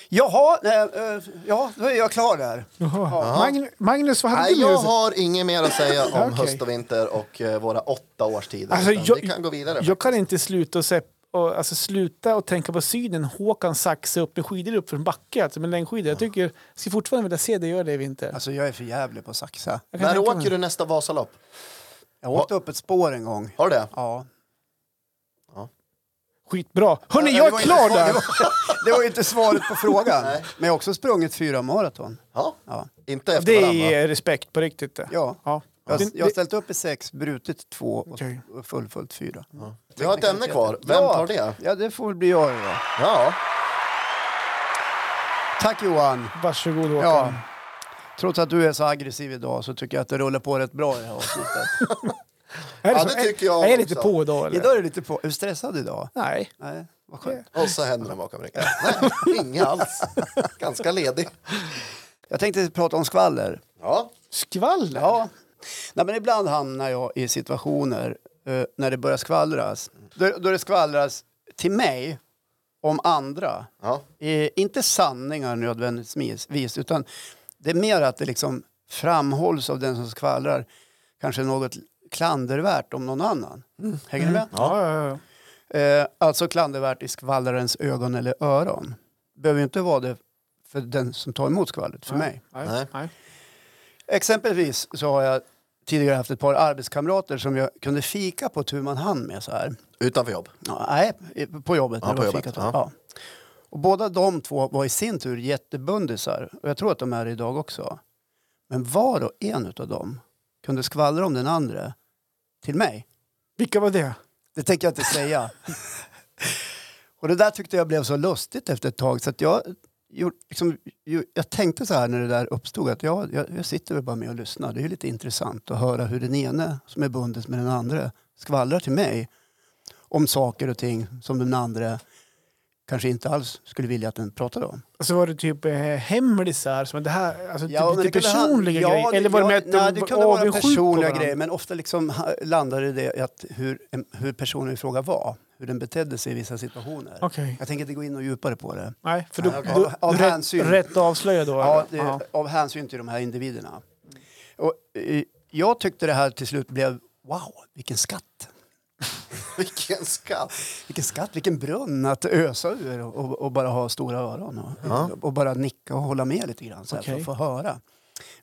Speaker 1: Jaha, nej, eh, ja, då är jag klar där.
Speaker 3: Jaha. Magn- Magnus, vad hade
Speaker 2: Nej,
Speaker 3: du
Speaker 2: jag
Speaker 3: med dig?
Speaker 2: har inget mer att säga om
Speaker 3: Okej.
Speaker 2: höst och vinter och eh, våra åtta årstider.
Speaker 3: Alltså,
Speaker 2: utan
Speaker 3: jag-
Speaker 2: vi kan gå vidare.
Speaker 3: Jag kan inte sluta och, se, och, alltså, sluta och tänka på synen Håkan saxa upp med skidor upp för en backe, alltså med längdskidor. Jag tycker, jag skulle fortfarande vilja se det göra det i vinter.
Speaker 1: Alltså jag är för jävlig på att saxa.
Speaker 3: Jag kan
Speaker 2: När
Speaker 3: tänka
Speaker 2: åker
Speaker 3: mig.
Speaker 2: du nästa Vasalopp?
Speaker 1: Jag åkte upp ett spår en gång.
Speaker 2: Har du det?
Speaker 1: Ja.
Speaker 3: Skitbra. Hörni,
Speaker 1: Ja,
Speaker 3: jag
Speaker 1: det var
Speaker 3: är klar
Speaker 1: inte svar-
Speaker 3: där!
Speaker 1: Det var, det var ju inte svaret på frågan. Men jag har också sprungit fyra maraton.
Speaker 2: Ja.
Speaker 1: Ja.
Speaker 2: Inte efter
Speaker 3: Det
Speaker 2: varandra.
Speaker 3: är respekt på riktigt det.
Speaker 1: Ja.
Speaker 3: ja.
Speaker 1: Jag,
Speaker 3: Det-
Speaker 1: jag har
Speaker 3: det-
Speaker 1: ställt upp i sex, brutit två och
Speaker 3: Okej.
Speaker 1: och fullföljt fyra.
Speaker 2: Vi har ett ämne kvar. Vem
Speaker 1: ja.
Speaker 2: tar det?
Speaker 1: Ja, det får väl bli jag då.
Speaker 2: Ja.
Speaker 1: Tack Johan.
Speaker 3: Varsågod Håkan.
Speaker 1: Ja. Trots att du är så aggressiv idag så tycker jag att det rullar på rätt bra i det här avsnittet.
Speaker 3: Är
Speaker 2: Ja,
Speaker 3: så-
Speaker 2: det tycker jag
Speaker 3: Är, är det lite
Speaker 2: också.
Speaker 3: på idag eller?
Speaker 1: idag är du lite på... Är du stressad idag?
Speaker 3: Nej.
Speaker 1: Nej, vad skönt.
Speaker 2: Och så händerna bakom ryggen. Nej, inga alls. Ganska ledig.
Speaker 1: Jag tänkte prata om skvaller.
Speaker 2: Ja.
Speaker 3: Skvaller?
Speaker 1: Ja. Nej, men ibland hamnar jag i situationer eh, när det börjar skvallras. Då, då det skvallras till mig om andra.
Speaker 2: ja.
Speaker 1: Eh, inte sanningar nödvändigtvis, utan det är mer att det liksom framhålls av den som skvallrar kanske något klandervärt om någon annan. Hänger ni med?
Speaker 3: Ja, ja, ja.
Speaker 1: Eh, alltså klandervärt i skvallrarens ögon eller öron. Behöver ju inte vara det för den som tar emot skvallret, för mig.
Speaker 2: Nej.
Speaker 3: Nej. Nej.
Speaker 1: Exempelvis så har jag tidigare haft ett par arbetskamrater som jag kunde fika på tu man hand med så här.
Speaker 2: Utanför jobb.
Speaker 1: Ja, nej, i- på jobbet.
Speaker 2: Ja,
Speaker 1: när
Speaker 2: på
Speaker 1: de
Speaker 2: jobbet,
Speaker 1: fikat.
Speaker 2: ja.
Speaker 1: Ja. Och båda de två var i sin tur jättebundisar. Och jag tror att de är det idag också. Men var och en av dem kunde skvallra om den andra till mig.
Speaker 3: Vilka var det?
Speaker 1: Det tänker jag inte säga. och det där tyckte jag blev så lustigt efter ett tag så att jag, gjort- liksom, ju- jag tänkte så här när det där uppstod att jag, jag, jag sitter väl bara med och lyssnar. Det är ju lite intressant att höra hur den ene som är bundet med den andra skvallrar till mig om saker och ting som den andra kanske inte alls skulle vilja att den pratade om.
Speaker 3: Alltså var det typ eh, hemlisar? Som det här, alltså,
Speaker 1: men
Speaker 3: typ,
Speaker 1: det
Speaker 3: lite
Speaker 1: kunde ha-
Speaker 3: personliga grejer? Eller var det
Speaker 1: ja,
Speaker 3: mer att
Speaker 1: nej,
Speaker 3: de
Speaker 1: det
Speaker 3: var
Speaker 1: kunde vara
Speaker 3: avundsjuka på
Speaker 1: personliga
Speaker 3: varandra?
Speaker 1: grejer men ofta liksom ha- landade det i att hur, en- hur personen i fråga var. Hur den betedde sig i vissa situationer.
Speaker 3: Okej.
Speaker 1: Jag tänker inte gå in och djupare på det.
Speaker 3: Nej, för du,
Speaker 1: Nej, okej.
Speaker 3: du,
Speaker 1: Av- av
Speaker 3: du rätt,
Speaker 1: hänsyn.
Speaker 3: rätt avslöjad då?
Speaker 1: Ja, det,
Speaker 3: eller?
Speaker 1: Av hänsyn till de här individerna. Och, eh, jag tyckte det här till slut blev wow, vilken skatt.
Speaker 2: Vilken skatt.
Speaker 1: Vilken skatt, vilken brunn att ösa ur och, och, och bara ha stora öron och, och bara nicka och hålla med lite grann så här,
Speaker 3: Okej.
Speaker 1: för att få höra.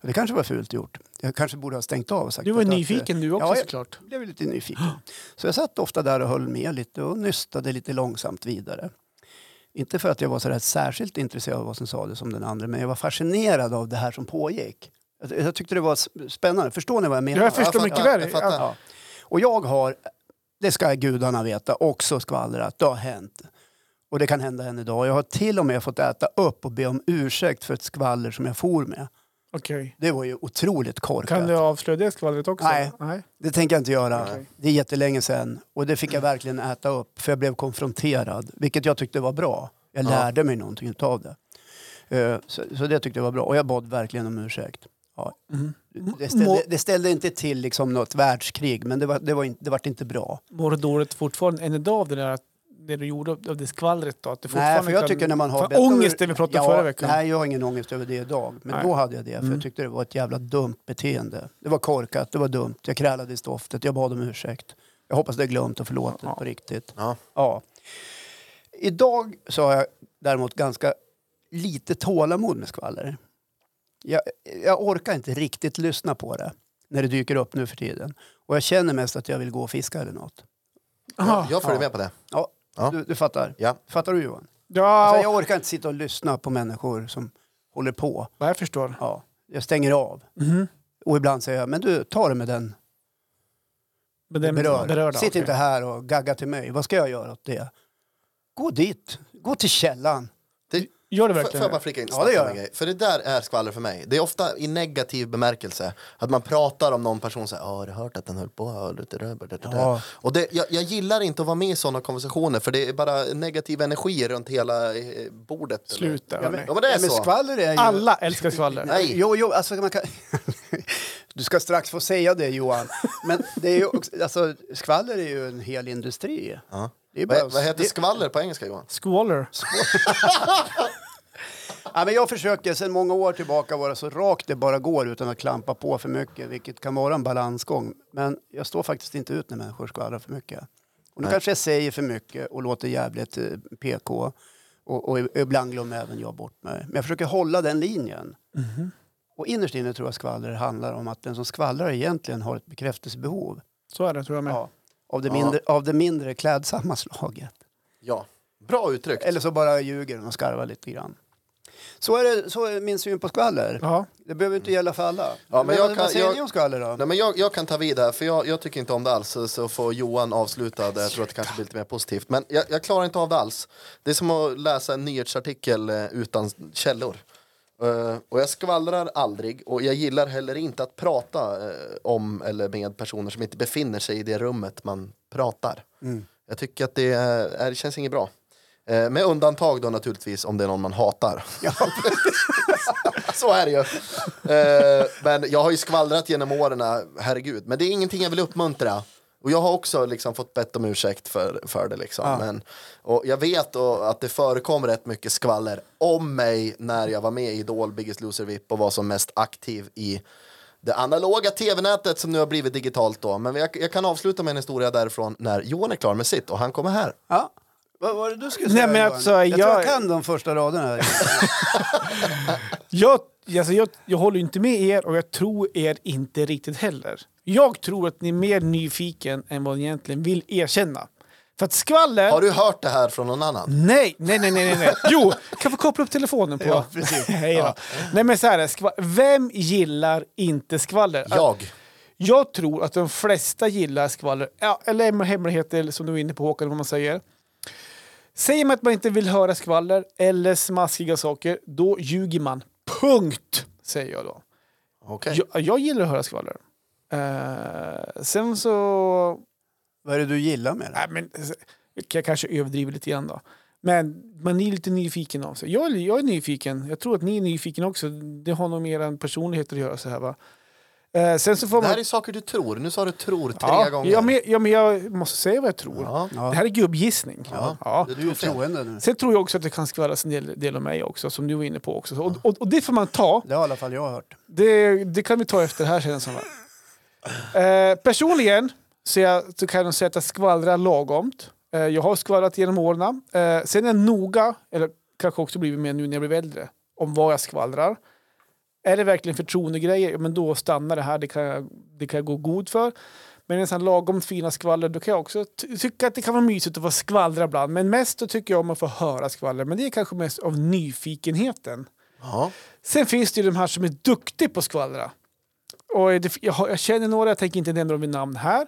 Speaker 1: Och det kanske var fult gjort. Jag kanske borde ha stängt av och sagt
Speaker 3: Du var
Speaker 1: att-
Speaker 3: nyfiken du också
Speaker 1: ja, jag-
Speaker 3: såklart.
Speaker 1: blev jag lite nyfiken. Så jag satt ofta där och höll med lite och nystade lite långsamt vidare. Inte för att jag var så där särskilt intresserad av vad som sades som den andra, men jag var fascinerad av det här som pågick. Jag, jag tyckte det var s- spännande. Förstår ni vad jag menar?
Speaker 3: Jag förstår
Speaker 2: fattar,
Speaker 3: mycket väl.
Speaker 2: jag fattar.
Speaker 3: Ja.
Speaker 1: Ja. Och jag har, det ska gudarna veta, också skvallrat. Det har hänt. Och det kan hända än idag. Jag har till och med fått äta upp och be om ursäkt för ett skvaller som jag for med.
Speaker 3: Okej.
Speaker 1: Det var ju otroligt korkat.
Speaker 3: Kan du avslöja det skvallret också?
Speaker 1: Nej.
Speaker 3: Nej.
Speaker 1: Det tänker jag inte göra.
Speaker 3: Okej.
Speaker 1: Det är jättelänge sedan. Och det fick jag verkligen äta upp för jag blev konfronterad. Vilket jag tyckte var bra. Jag lärde mig någonting av det. Eh, Så, så det tyckte jag var bra. Och jag bad verkligen om ursäkt. Ja. Det,
Speaker 3: Mm. Må-
Speaker 1: ställde, det ställde inte till liksom något världskrig men det var, det var, inte, det var inte bra.
Speaker 3: Mår du dåligt fortfarande än idag av det där att det du gjorde av det skvallret då? Att du
Speaker 1: Nej,
Speaker 3: fortfarande
Speaker 1: för jag
Speaker 3: kan-
Speaker 1: tycker när man har...
Speaker 3: För
Speaker 1: bett-
Speaker 3: ångest det vi pratade om
Speaker 1: ja,
Speaker 3: förra veckan.
Speaker 1: Nej, jag har ingen ångest över det idag. Men
Speaker 3: Nej.
Speaker 1: då hade jag det, för
Speaker 3: Mm.
Speaker 1: jag tyckte det var ett jävla dumt beteende. Det var korkat, det var dumt, jag krälade i stoftet, jag bad om ursäkt. Jag hoppas det är glömt och förlåtet
Speaker 3: Ja.
Speaker 1: på riktigt.
Speaker 2: Ja.
Speaker 1: Ja. Idag så har jag däremot ganska lite tålamod med skvaller. Jag, jag orkar inte riktigt lyssna på det när det dyker upp nu för tiden. Och jag känner mest att jag vill gå och fiska eller något.
Speaker 3: Ah,
Speaker 2: Jag, jag följer
Speaker 1: Ja.
Speaker 2: med på det.
Speaker 1: Ja,
Speaker 2: Ja.
Speaker 1: Du, du fattar.
Speaker 2: Ja.
Speaker 1: Fattar du Johan?
Speaker 3: Ja,
Speaker 1: Alltså, jag orkar inte sitta och lyssna på människor som håller på.
Speaker 3: ja, jag förstår.
Speaker 1: Ja, jag stänger av.
Speaker 3: Mhm.
Speaker 1: Och ibland säger jag, men du, ta det med den
Speaker 3: Men det är
Speaker 1: berörda.
Speaker 3: berörda,
Speaker 1: Sitt
Speaker 3: okej.
Speaker 1: inte här och gagga till mig. Vad ska jag göra åt det? Gå dit. Gå till källan.
Speaker 3: Gör det
Speaker 2: Får får
Speaker 3: verkligen
Speaker 2: jag bara
Speaker 3: det?
Speaker 2: flika in
Speaker 1: Ja,
Speaker 2: snabbt
Speaker 1: det gör
Speaker 2: en
Speaker 1: jag.
Speaker 2: grej? För det där är skvaller för mig. Det är ofta i negativ bemärkelse. Att man pratar om någon person så här, "Ja, har du hört att den höll på? Ah, Ja, lite rör, det, det, det."
Speaker 1: Ja.
Speaker 2: Och det, jag, jag gillar inte att vara med i sådana konversationer för det är bara negativ energi runt hela eh, bordet. eller-
Speaker 3: Sluta.
Speaker 2: Ja, men,
Speaker 3: hörni.
Speaker 2: ja, men det är
Speaker 1: Ja, men
Speaker 2: så.
Speaker 1: skvaller är ju...
Speaker 3: Alla älskar skvaller.
Speaker 2: Nej.
Speaker 1: Jo, jo, alltså man kan... Du ska strax få säga det Johan. Men det är ju också, alltså, skvaller är ju en hel industri.
Speaker 2: Ja.
Speaker 1: Det är bara-
Speaker 2: Vad, vad heter
Speaker 1: det-
Speaker 2: skvaller på engelska Johan?
Speaker 3: Squaller.
Speaker 1: Ja, men jag försöker sedan många år tillbaka vara så rakt det bara går utan att klampa på för mycket, vilket kan vara en balansgång. Men jag står faktiskt inte ut när människor skvallrar för mycket. Och nu
Speaker 2: Nej.
Speaker 1: kanske jag säger för mycket och låter jävligt eh, PK. Och, och ibland glömmer även jag bort mig. Men jag försöker hålla den linjen.
Speaker 2: Mhm.
Speaker 1: Och innerst inne tror jag skvaller handlar om att den som skvallrar egentligen har ett bekräftelsebehov.
Speaker 3: Så är det tror jag med.
Speaker 1: Ja. Av, det
Speaker 2: Ja.
Speaker 1: mindre, av det mindre klädsamma slaget.
Speaker 2: Ja. Bra uttryckt.
Speaker 1: Eller så bara ljuger den och skarvar lite grann. Så är, det, så är min syn på skvaller.
Speaker 3: Ja.
Speaker 1: Det behöver inte gälla för alla.
Speaker 2: Ja, men jag
Speaker 1: vad,
Speaker 2: kan-
Speaker 1: vad säger
Speaker 2: jag-
Speaker 1: ni om skvaller då?
Speaker 2: Nej, men jag, jag kan ta vid här, för jag, jag tycker inte om det alls. Så- Så får Johan avsluta. Där. Jag tror att det kanske blir lite mer positivt. Men jag, jag klarar inte av det alls. Det är som att läsa en nyhetsartikel eh, utan källor. Eh, och jag skvallrar aldrig och jag gillar heller inte att prata eh, om eller med personer som inte befinner sig i det rummet man pratar. Jag tycker att det, är, är- det känns inget bra. Eh, med undantag då naturligtvis om det är någon man hatar. Så är det ju. Eh, men jag har ju skvallrat genom åren, herregud. Men det är ingenting jag vill uppmuntra. Och jag har också liksom fått bett om ursäkt för, för det. Liksom. Men, och jag vet och, att det förekom rätt mycket skvaller om mig när jag var med i Idol, Biggest Loser VIP och var som mest aktiv i det analoga tv-nätet som nu har blivit digitalt. Då. Men jag, jag kan avsluta med en historia därifrån när Johan är klar med sitt och han kommer här.
Speaker 1: Ja. Vad var det du skulle
Speaker 3: Nej,
Speaker 1: säga
Speaker 3: men
Speaker 1: Johan?
Speaker 3: alltså,
Speaker 1: jag, tror jag
Speaker 3: jag-
Speaker 1: kan de första raderna. Här.
Speaker 3: Jag, alltså jag, jag håller ju inte med er och jag tror er inte riktigt heller. Jag tror att ni är mer nyfiken än vad ni egentligen vill erkänna. För att skvaller...
Speaker 2: Har du hört det här från någon annan?
Speaker 3: Nej, nej, nej, nej, nej, nej. Jo, kan få koppla upp telefonen på...
Speaker 1: Ja, precis.
Speaker 3: Hej då. Nej, men så här, är det. skva... vem gillar inte skvaller?
Speaker 2: Jag.
Speaker 3: Jag tror att de flesta gillar skvaller, ja, eller hem- hemligheter som du var inne på Håkan, vad man säger. Säger man att man inte vill höra skvaller eller smaskiga saker, då ljuger man. Punkt, säger jag då.
Speaker 1: Eh.
Speaker 2: Okej.
Speaker 3: Jag, jag gillar att höra skvaller. Eh, sen så...
Speaker 1: Vad är det du gillar med det?
Speaker 3: Nej, men, eh, jag kanske överdriver lite grann då. Men man är lite nyfiken av sig. Jag, är- jag är nyfiken. Jag tror att ni är nyfiken också. Det har nog mer en personlighet att göra så här va. Eh, sen så får
Speaker 2: Det
Speaker 3: man...
Speaker 2: här är saker du tror. Nu sa du tror tre
Speaker 3: ja,
Speaker 2: gånger.
Speaker 3: Ja men, ja, men jag måste säga vad jag tror.
Speaker 2: Ja.
Speaker 3: Det här är gubbgissning.
Speaker 2: Ja.
Speaker 3: Ja.
Speaker 1: Du är ju troende nu.
Speaker 3: Sen tror jag också att det kan skvallras en del, del om mig också, som du var inne på också. Och, och, och det får man ta.
Speaker 1: Det har i alla fall jag hört.
Speaker 3: Det, det kan vi ta efter det här sen. Som eh, personligen så, jag, så kan jag säga att jag skvallrar lagomt. Eh, jag har skvallrat genom åren. Eh, sen är jag noga, eller kanske också blivit mer nu när jag blev äldre, om vad jag skvallrar. Är det verkligen förtroendegrejer, ja, men då stannar det här. Det kan jag, det kan jag gå god för. Men en sån lagomt fina skvaller, då kan jag också ty- tycka att det kan vara mysigt att få skvallra ibland. Men mest då tycker jag om att få höra skvaller. Men det är kanske mest av nyfikenheten.
Speaker 2: Ja.
Speaker 3: Sen finns det ju de här som är duktiga på att skvallra. Och det, jag, har- jag känner några, jag tänker inte nämna dem vid namn här.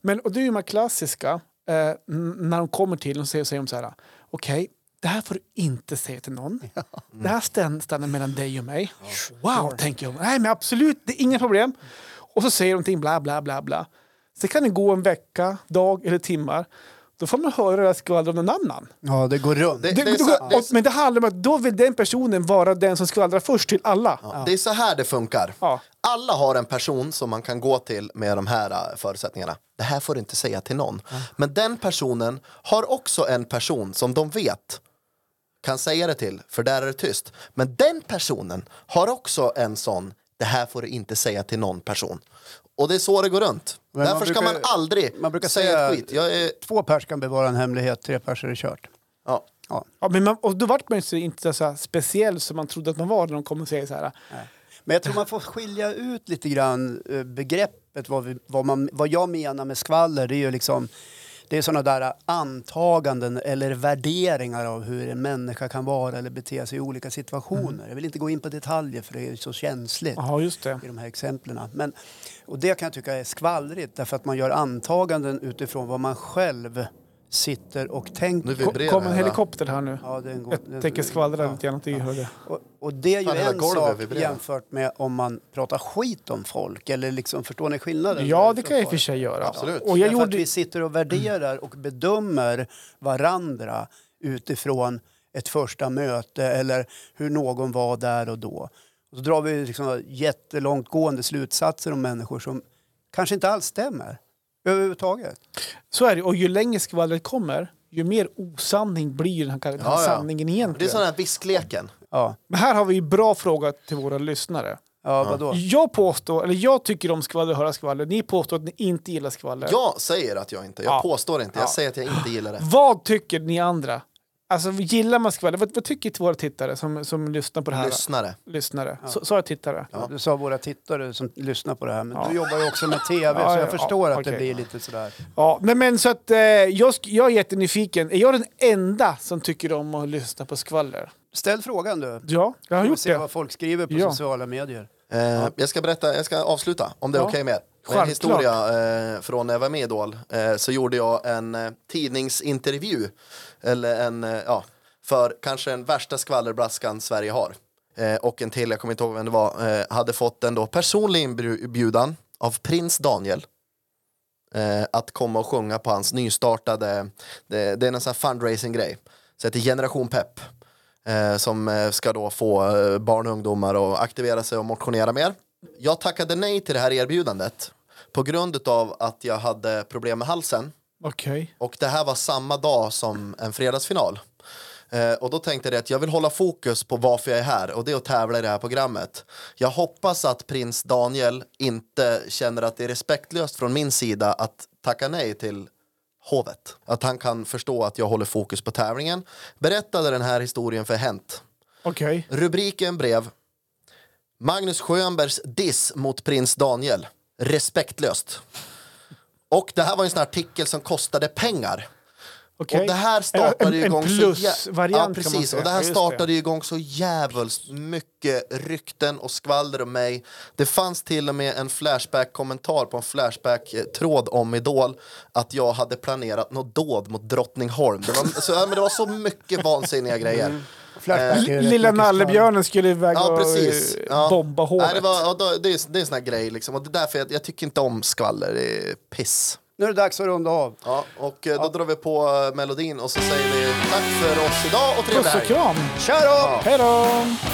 Speaker 3: Men och det är ju de här klassiska, eh, n- när de kommer till och säger, säger de så här, okej, det här får du inte säga till någon.
Speaker 2: Mm.
Speaker 3: Det här stän- stannar mellan dig och mig. Wow, tänker jag. Nej, men absolut, det är inga problem. Och så säger de någonting, bla, bla, bla, bla. Sen kan det gå en vecka, dag eller timmar. då får man höra det här skvallret om någon annan.
Speaker 1: Ja, det går runt.
Speaker 2: Det-
Speaker 3: Det,
Speaker 2: är
Speaker 3: då-
Speaker 2: sant. Det är
Speaker 3: och, men det handlar om att då vill den personen vara den som skvallrar först till alla.
Speaker 2: Ja. Det är så här det funkar.
Speaker 3: Ja.
Speaker 2: Alla har en person som man kan gå till med de här eh, förutsättningarna. Det här får du inte säga till någon. Men den personen har också en person som de vet kan säga det till, för där är det tyst. Men den personen har också en sån, det här får du inte säga till någon person. Och det är så det går runt.
Speaker 1: Men man
Speaker 2: Därför ska
Speaker 1: brukar-
Speaker 2: man aldrig
Speaker 1: man brukar
Speaker 2: säga,
Speaker 1: säga-
Speaker 2: ett skit. Jag är,
Speaker 1: Två pers kan bevara en hemlighet, tre pers är det kört.
Speaker 2: ja.
Speaker 1: Ja.
Speaker 3: Ja, men man, och då vart man ju så- inte så här speciell som man trodde att man var när de kom och säger så här.
Speaker 1: Men jag tror man får skilja ut lite grann eh, begreppet vad, vi, vad, man, vad jag menar med skvaller. Det är ju liksom det är sådana där antaganden eller värderingar av hur en människa kan vara eller bete sig i olika situationer.
Speaker 3: Mm.
Speaker 1: Jag vill inte gå in på detaljer för det är så känsligt
Speaker 3: Ja, just det.
Speaker 1: i de här exemplen. Men, och det kan jag tycka är skvallrigt därför att man gör antaganden utifrån vad man själv sitter och tänker.
Speaker 2: Nu
Speaker 3: Ko-
Speaker 2: vibrerar
Speaker 3: Kom en
Speaker 2: hela-
Speaker 3: helikopter här nu.
Speaker 1: Ja, det är en god-
Speaker 3: Jag tänker skvallra lite grann att ni hörde.
Speaker 1: och, och det är ju
Speaker 2: Fan, hela
Speaker 1: en
Speaker 2: golvet
Speaker 1: sak
Speaker 2: vibrerar.
Speaker 1: jämfört med om man pratar skit om folk. Eller liksom, förstår ni skillnaden?
Speaker 3: Ja, det kan jag i och för sig göra.
Speaker 2: Absolut.
Speaker 3: Och jag
Speaker 1: Därför att
Speaker 3: gjorde...
Speaker 1: vi sitter och värderar och bedömer varandra utifrån ett första möte eller hur någon var där och då. Och så drar vi liksom jättelångtgående slutsatser om människor som kanske inte alls stämmer överhuvudtaget.
Speaker 3: Så är det. Och ju längre skvallret kommer, ju mer osanning blir den här, den här
Speaker 2: Ja, ja.
Speaker 3: sanningen
Speaker 2: Det är
Speaker 3: egentligen.
Speaker 2: sån här viskleken.
Speaker 1: Ja,
Speaker 3: Men här har vi ju bra fråga till våra lyssnare.
Speaker 1: ja vadå?
Speaker 3: Jag påstår, eller jag tycker om skvaller och höra skvaller. Ni påstår att ni inte gillar skvaller.
Speaker 2: Jag säger att jag inte, jag
Speaker 3: Ja.
Speaker 2: påstår inte, jag
Speaker 3: Ja.
Speaker 2: säger att jag inte gillar det.
Speaker 3: Vad tycker ni andra? Alltså gillar man skvaller? Vad, vad tycker våra tittare som, som lyssnar på det här?
Speaker 2: Lyssnare.
Speaker 3: Lyssnare. Så, så är tittare.
Speaker 1: Du sa våra tittare som lyssnar på det här, men
Speaker 3: Ja.
Speaker 1: du jobbar ju också med tv
Speaker 3: Ja,
Speaker 1: så jag
Speaker 3: ja,
Speaker 1: förstår
Speaker 3: ja,
Speaker 1: att det
Speaker 3: okej.
Speaker 1: blir lite sådär.
Speaker 3: Ja, nej men så att eh, jag, sk- jag är jättenyfiken. Är jag den enda som tycker om att lyssna på skvaller?
Speaker 1: Ställ frågan du.
Speaker 3: Ja, jag
Speaker 1: Får
Speaker 3: har
Speaker 1: vi
Speaker 3: gjort
Speaker 1: se
Speaker 3: det.
Speaker 1: vad folk skriver på
Speaker 3: Ja.
Speaker 1: sociala medier.
Speaker 2: Eh, Jag ska berätta, jag ska avsluta om det är
Speaker 3: Ja.
Speaker 2: okej med er. Med en
Speaker 3: Självklart.
Speaker 2: historia eh, från när jag var med i Idol eh, så gjorde jag en eh, tidningsintervju eller en, eh, ja, för kanske den värsta skvallerbraskan Sverige har. Eh, och en till, jag kommer inte ihåg vem det var, eh, hade fått en då personlig inbjudan av prins Daniel eh, att komma och sjunga på hans nystartade, det, det är en sån här fundraising-grej, så heter Generation Pepp. Eh, som eh, ska då få eh, barn och ungdomar att aktivera sig och motionera mer. Jag tackade nej till det här erbjudandet på grund av att jag hade problem med halsen.
Speaker 3: Okej.
Speaker 2: Och det här var samma dag som en fredagsfinal. Eh, och då tänkte jag det att jag vill hålla fokus på varför jag är här och det är att tävla i det här programmet. Jag hoppas att prins Daniel inte känner att det är respektlöst från min sida att tacka nej till hovet. Att han kan förstå att jag håller fokus på tävlingen. Berättade den här historien för Hent.
Speaker 3: Okej.
Speaker 2: Rubriken brev. Magnus Schönbergs diss mot prins Daniel. Respektlöst. Och det här var en sån här artikel som kostade pengar.
Speaker 3: Okej.
Speaker 2: Och det här startade
Speaker 3: En-
Speaker 2: ju
Speaker 3: en
Speaker 2: igång så jä-
Speaker 3: plusvariant
Speaker 2: ja,
Speaker 3: kan man
Speaker 2: precis.
Speaker 3: säga.
Speaker 2: Och det här
Speaker 3: Ja, just
Speaker 2: startade ju igång så jävligt mycket rykten och skvaller om mig. Det fanns till och med en Flashback-kommentar på en Flashback-tråd om Idol att jag hade planerat något dåd mot Drottningholm. Det var så, ja, men det var så mycket vansinniga grejer.
Speaker 3: Mm.
Speaker 1: Flashback är rätt
Speaker 3: Lilla
Speaker 1: mycket
Speaker 3: nallebjörnen skulle iväg
Speaker 2: Ja,
Speaker 3: och
Speaker 2: precis.
Speaker 3: eh,
Speaker 2: Ja.
Speaker 3: bomba håret.
Speaker 2: Nej, det, var, ja, då- det, är, det är en sån här grej. Liksom. Och det är därför jag, jag tycker inte om skvaller. Det är piss.
Speaker 1: Nu är det dags att runda av.
Speaker 2: Ja, och eh, då drar vi på eh, melodin och så säger vi tack för oss idag och trevlig
Speaker 3: Puss och
Speaker 2: helg.
Speaker 3: kram!
Speaker 1: Kör då!
Speaker 3: Hej då!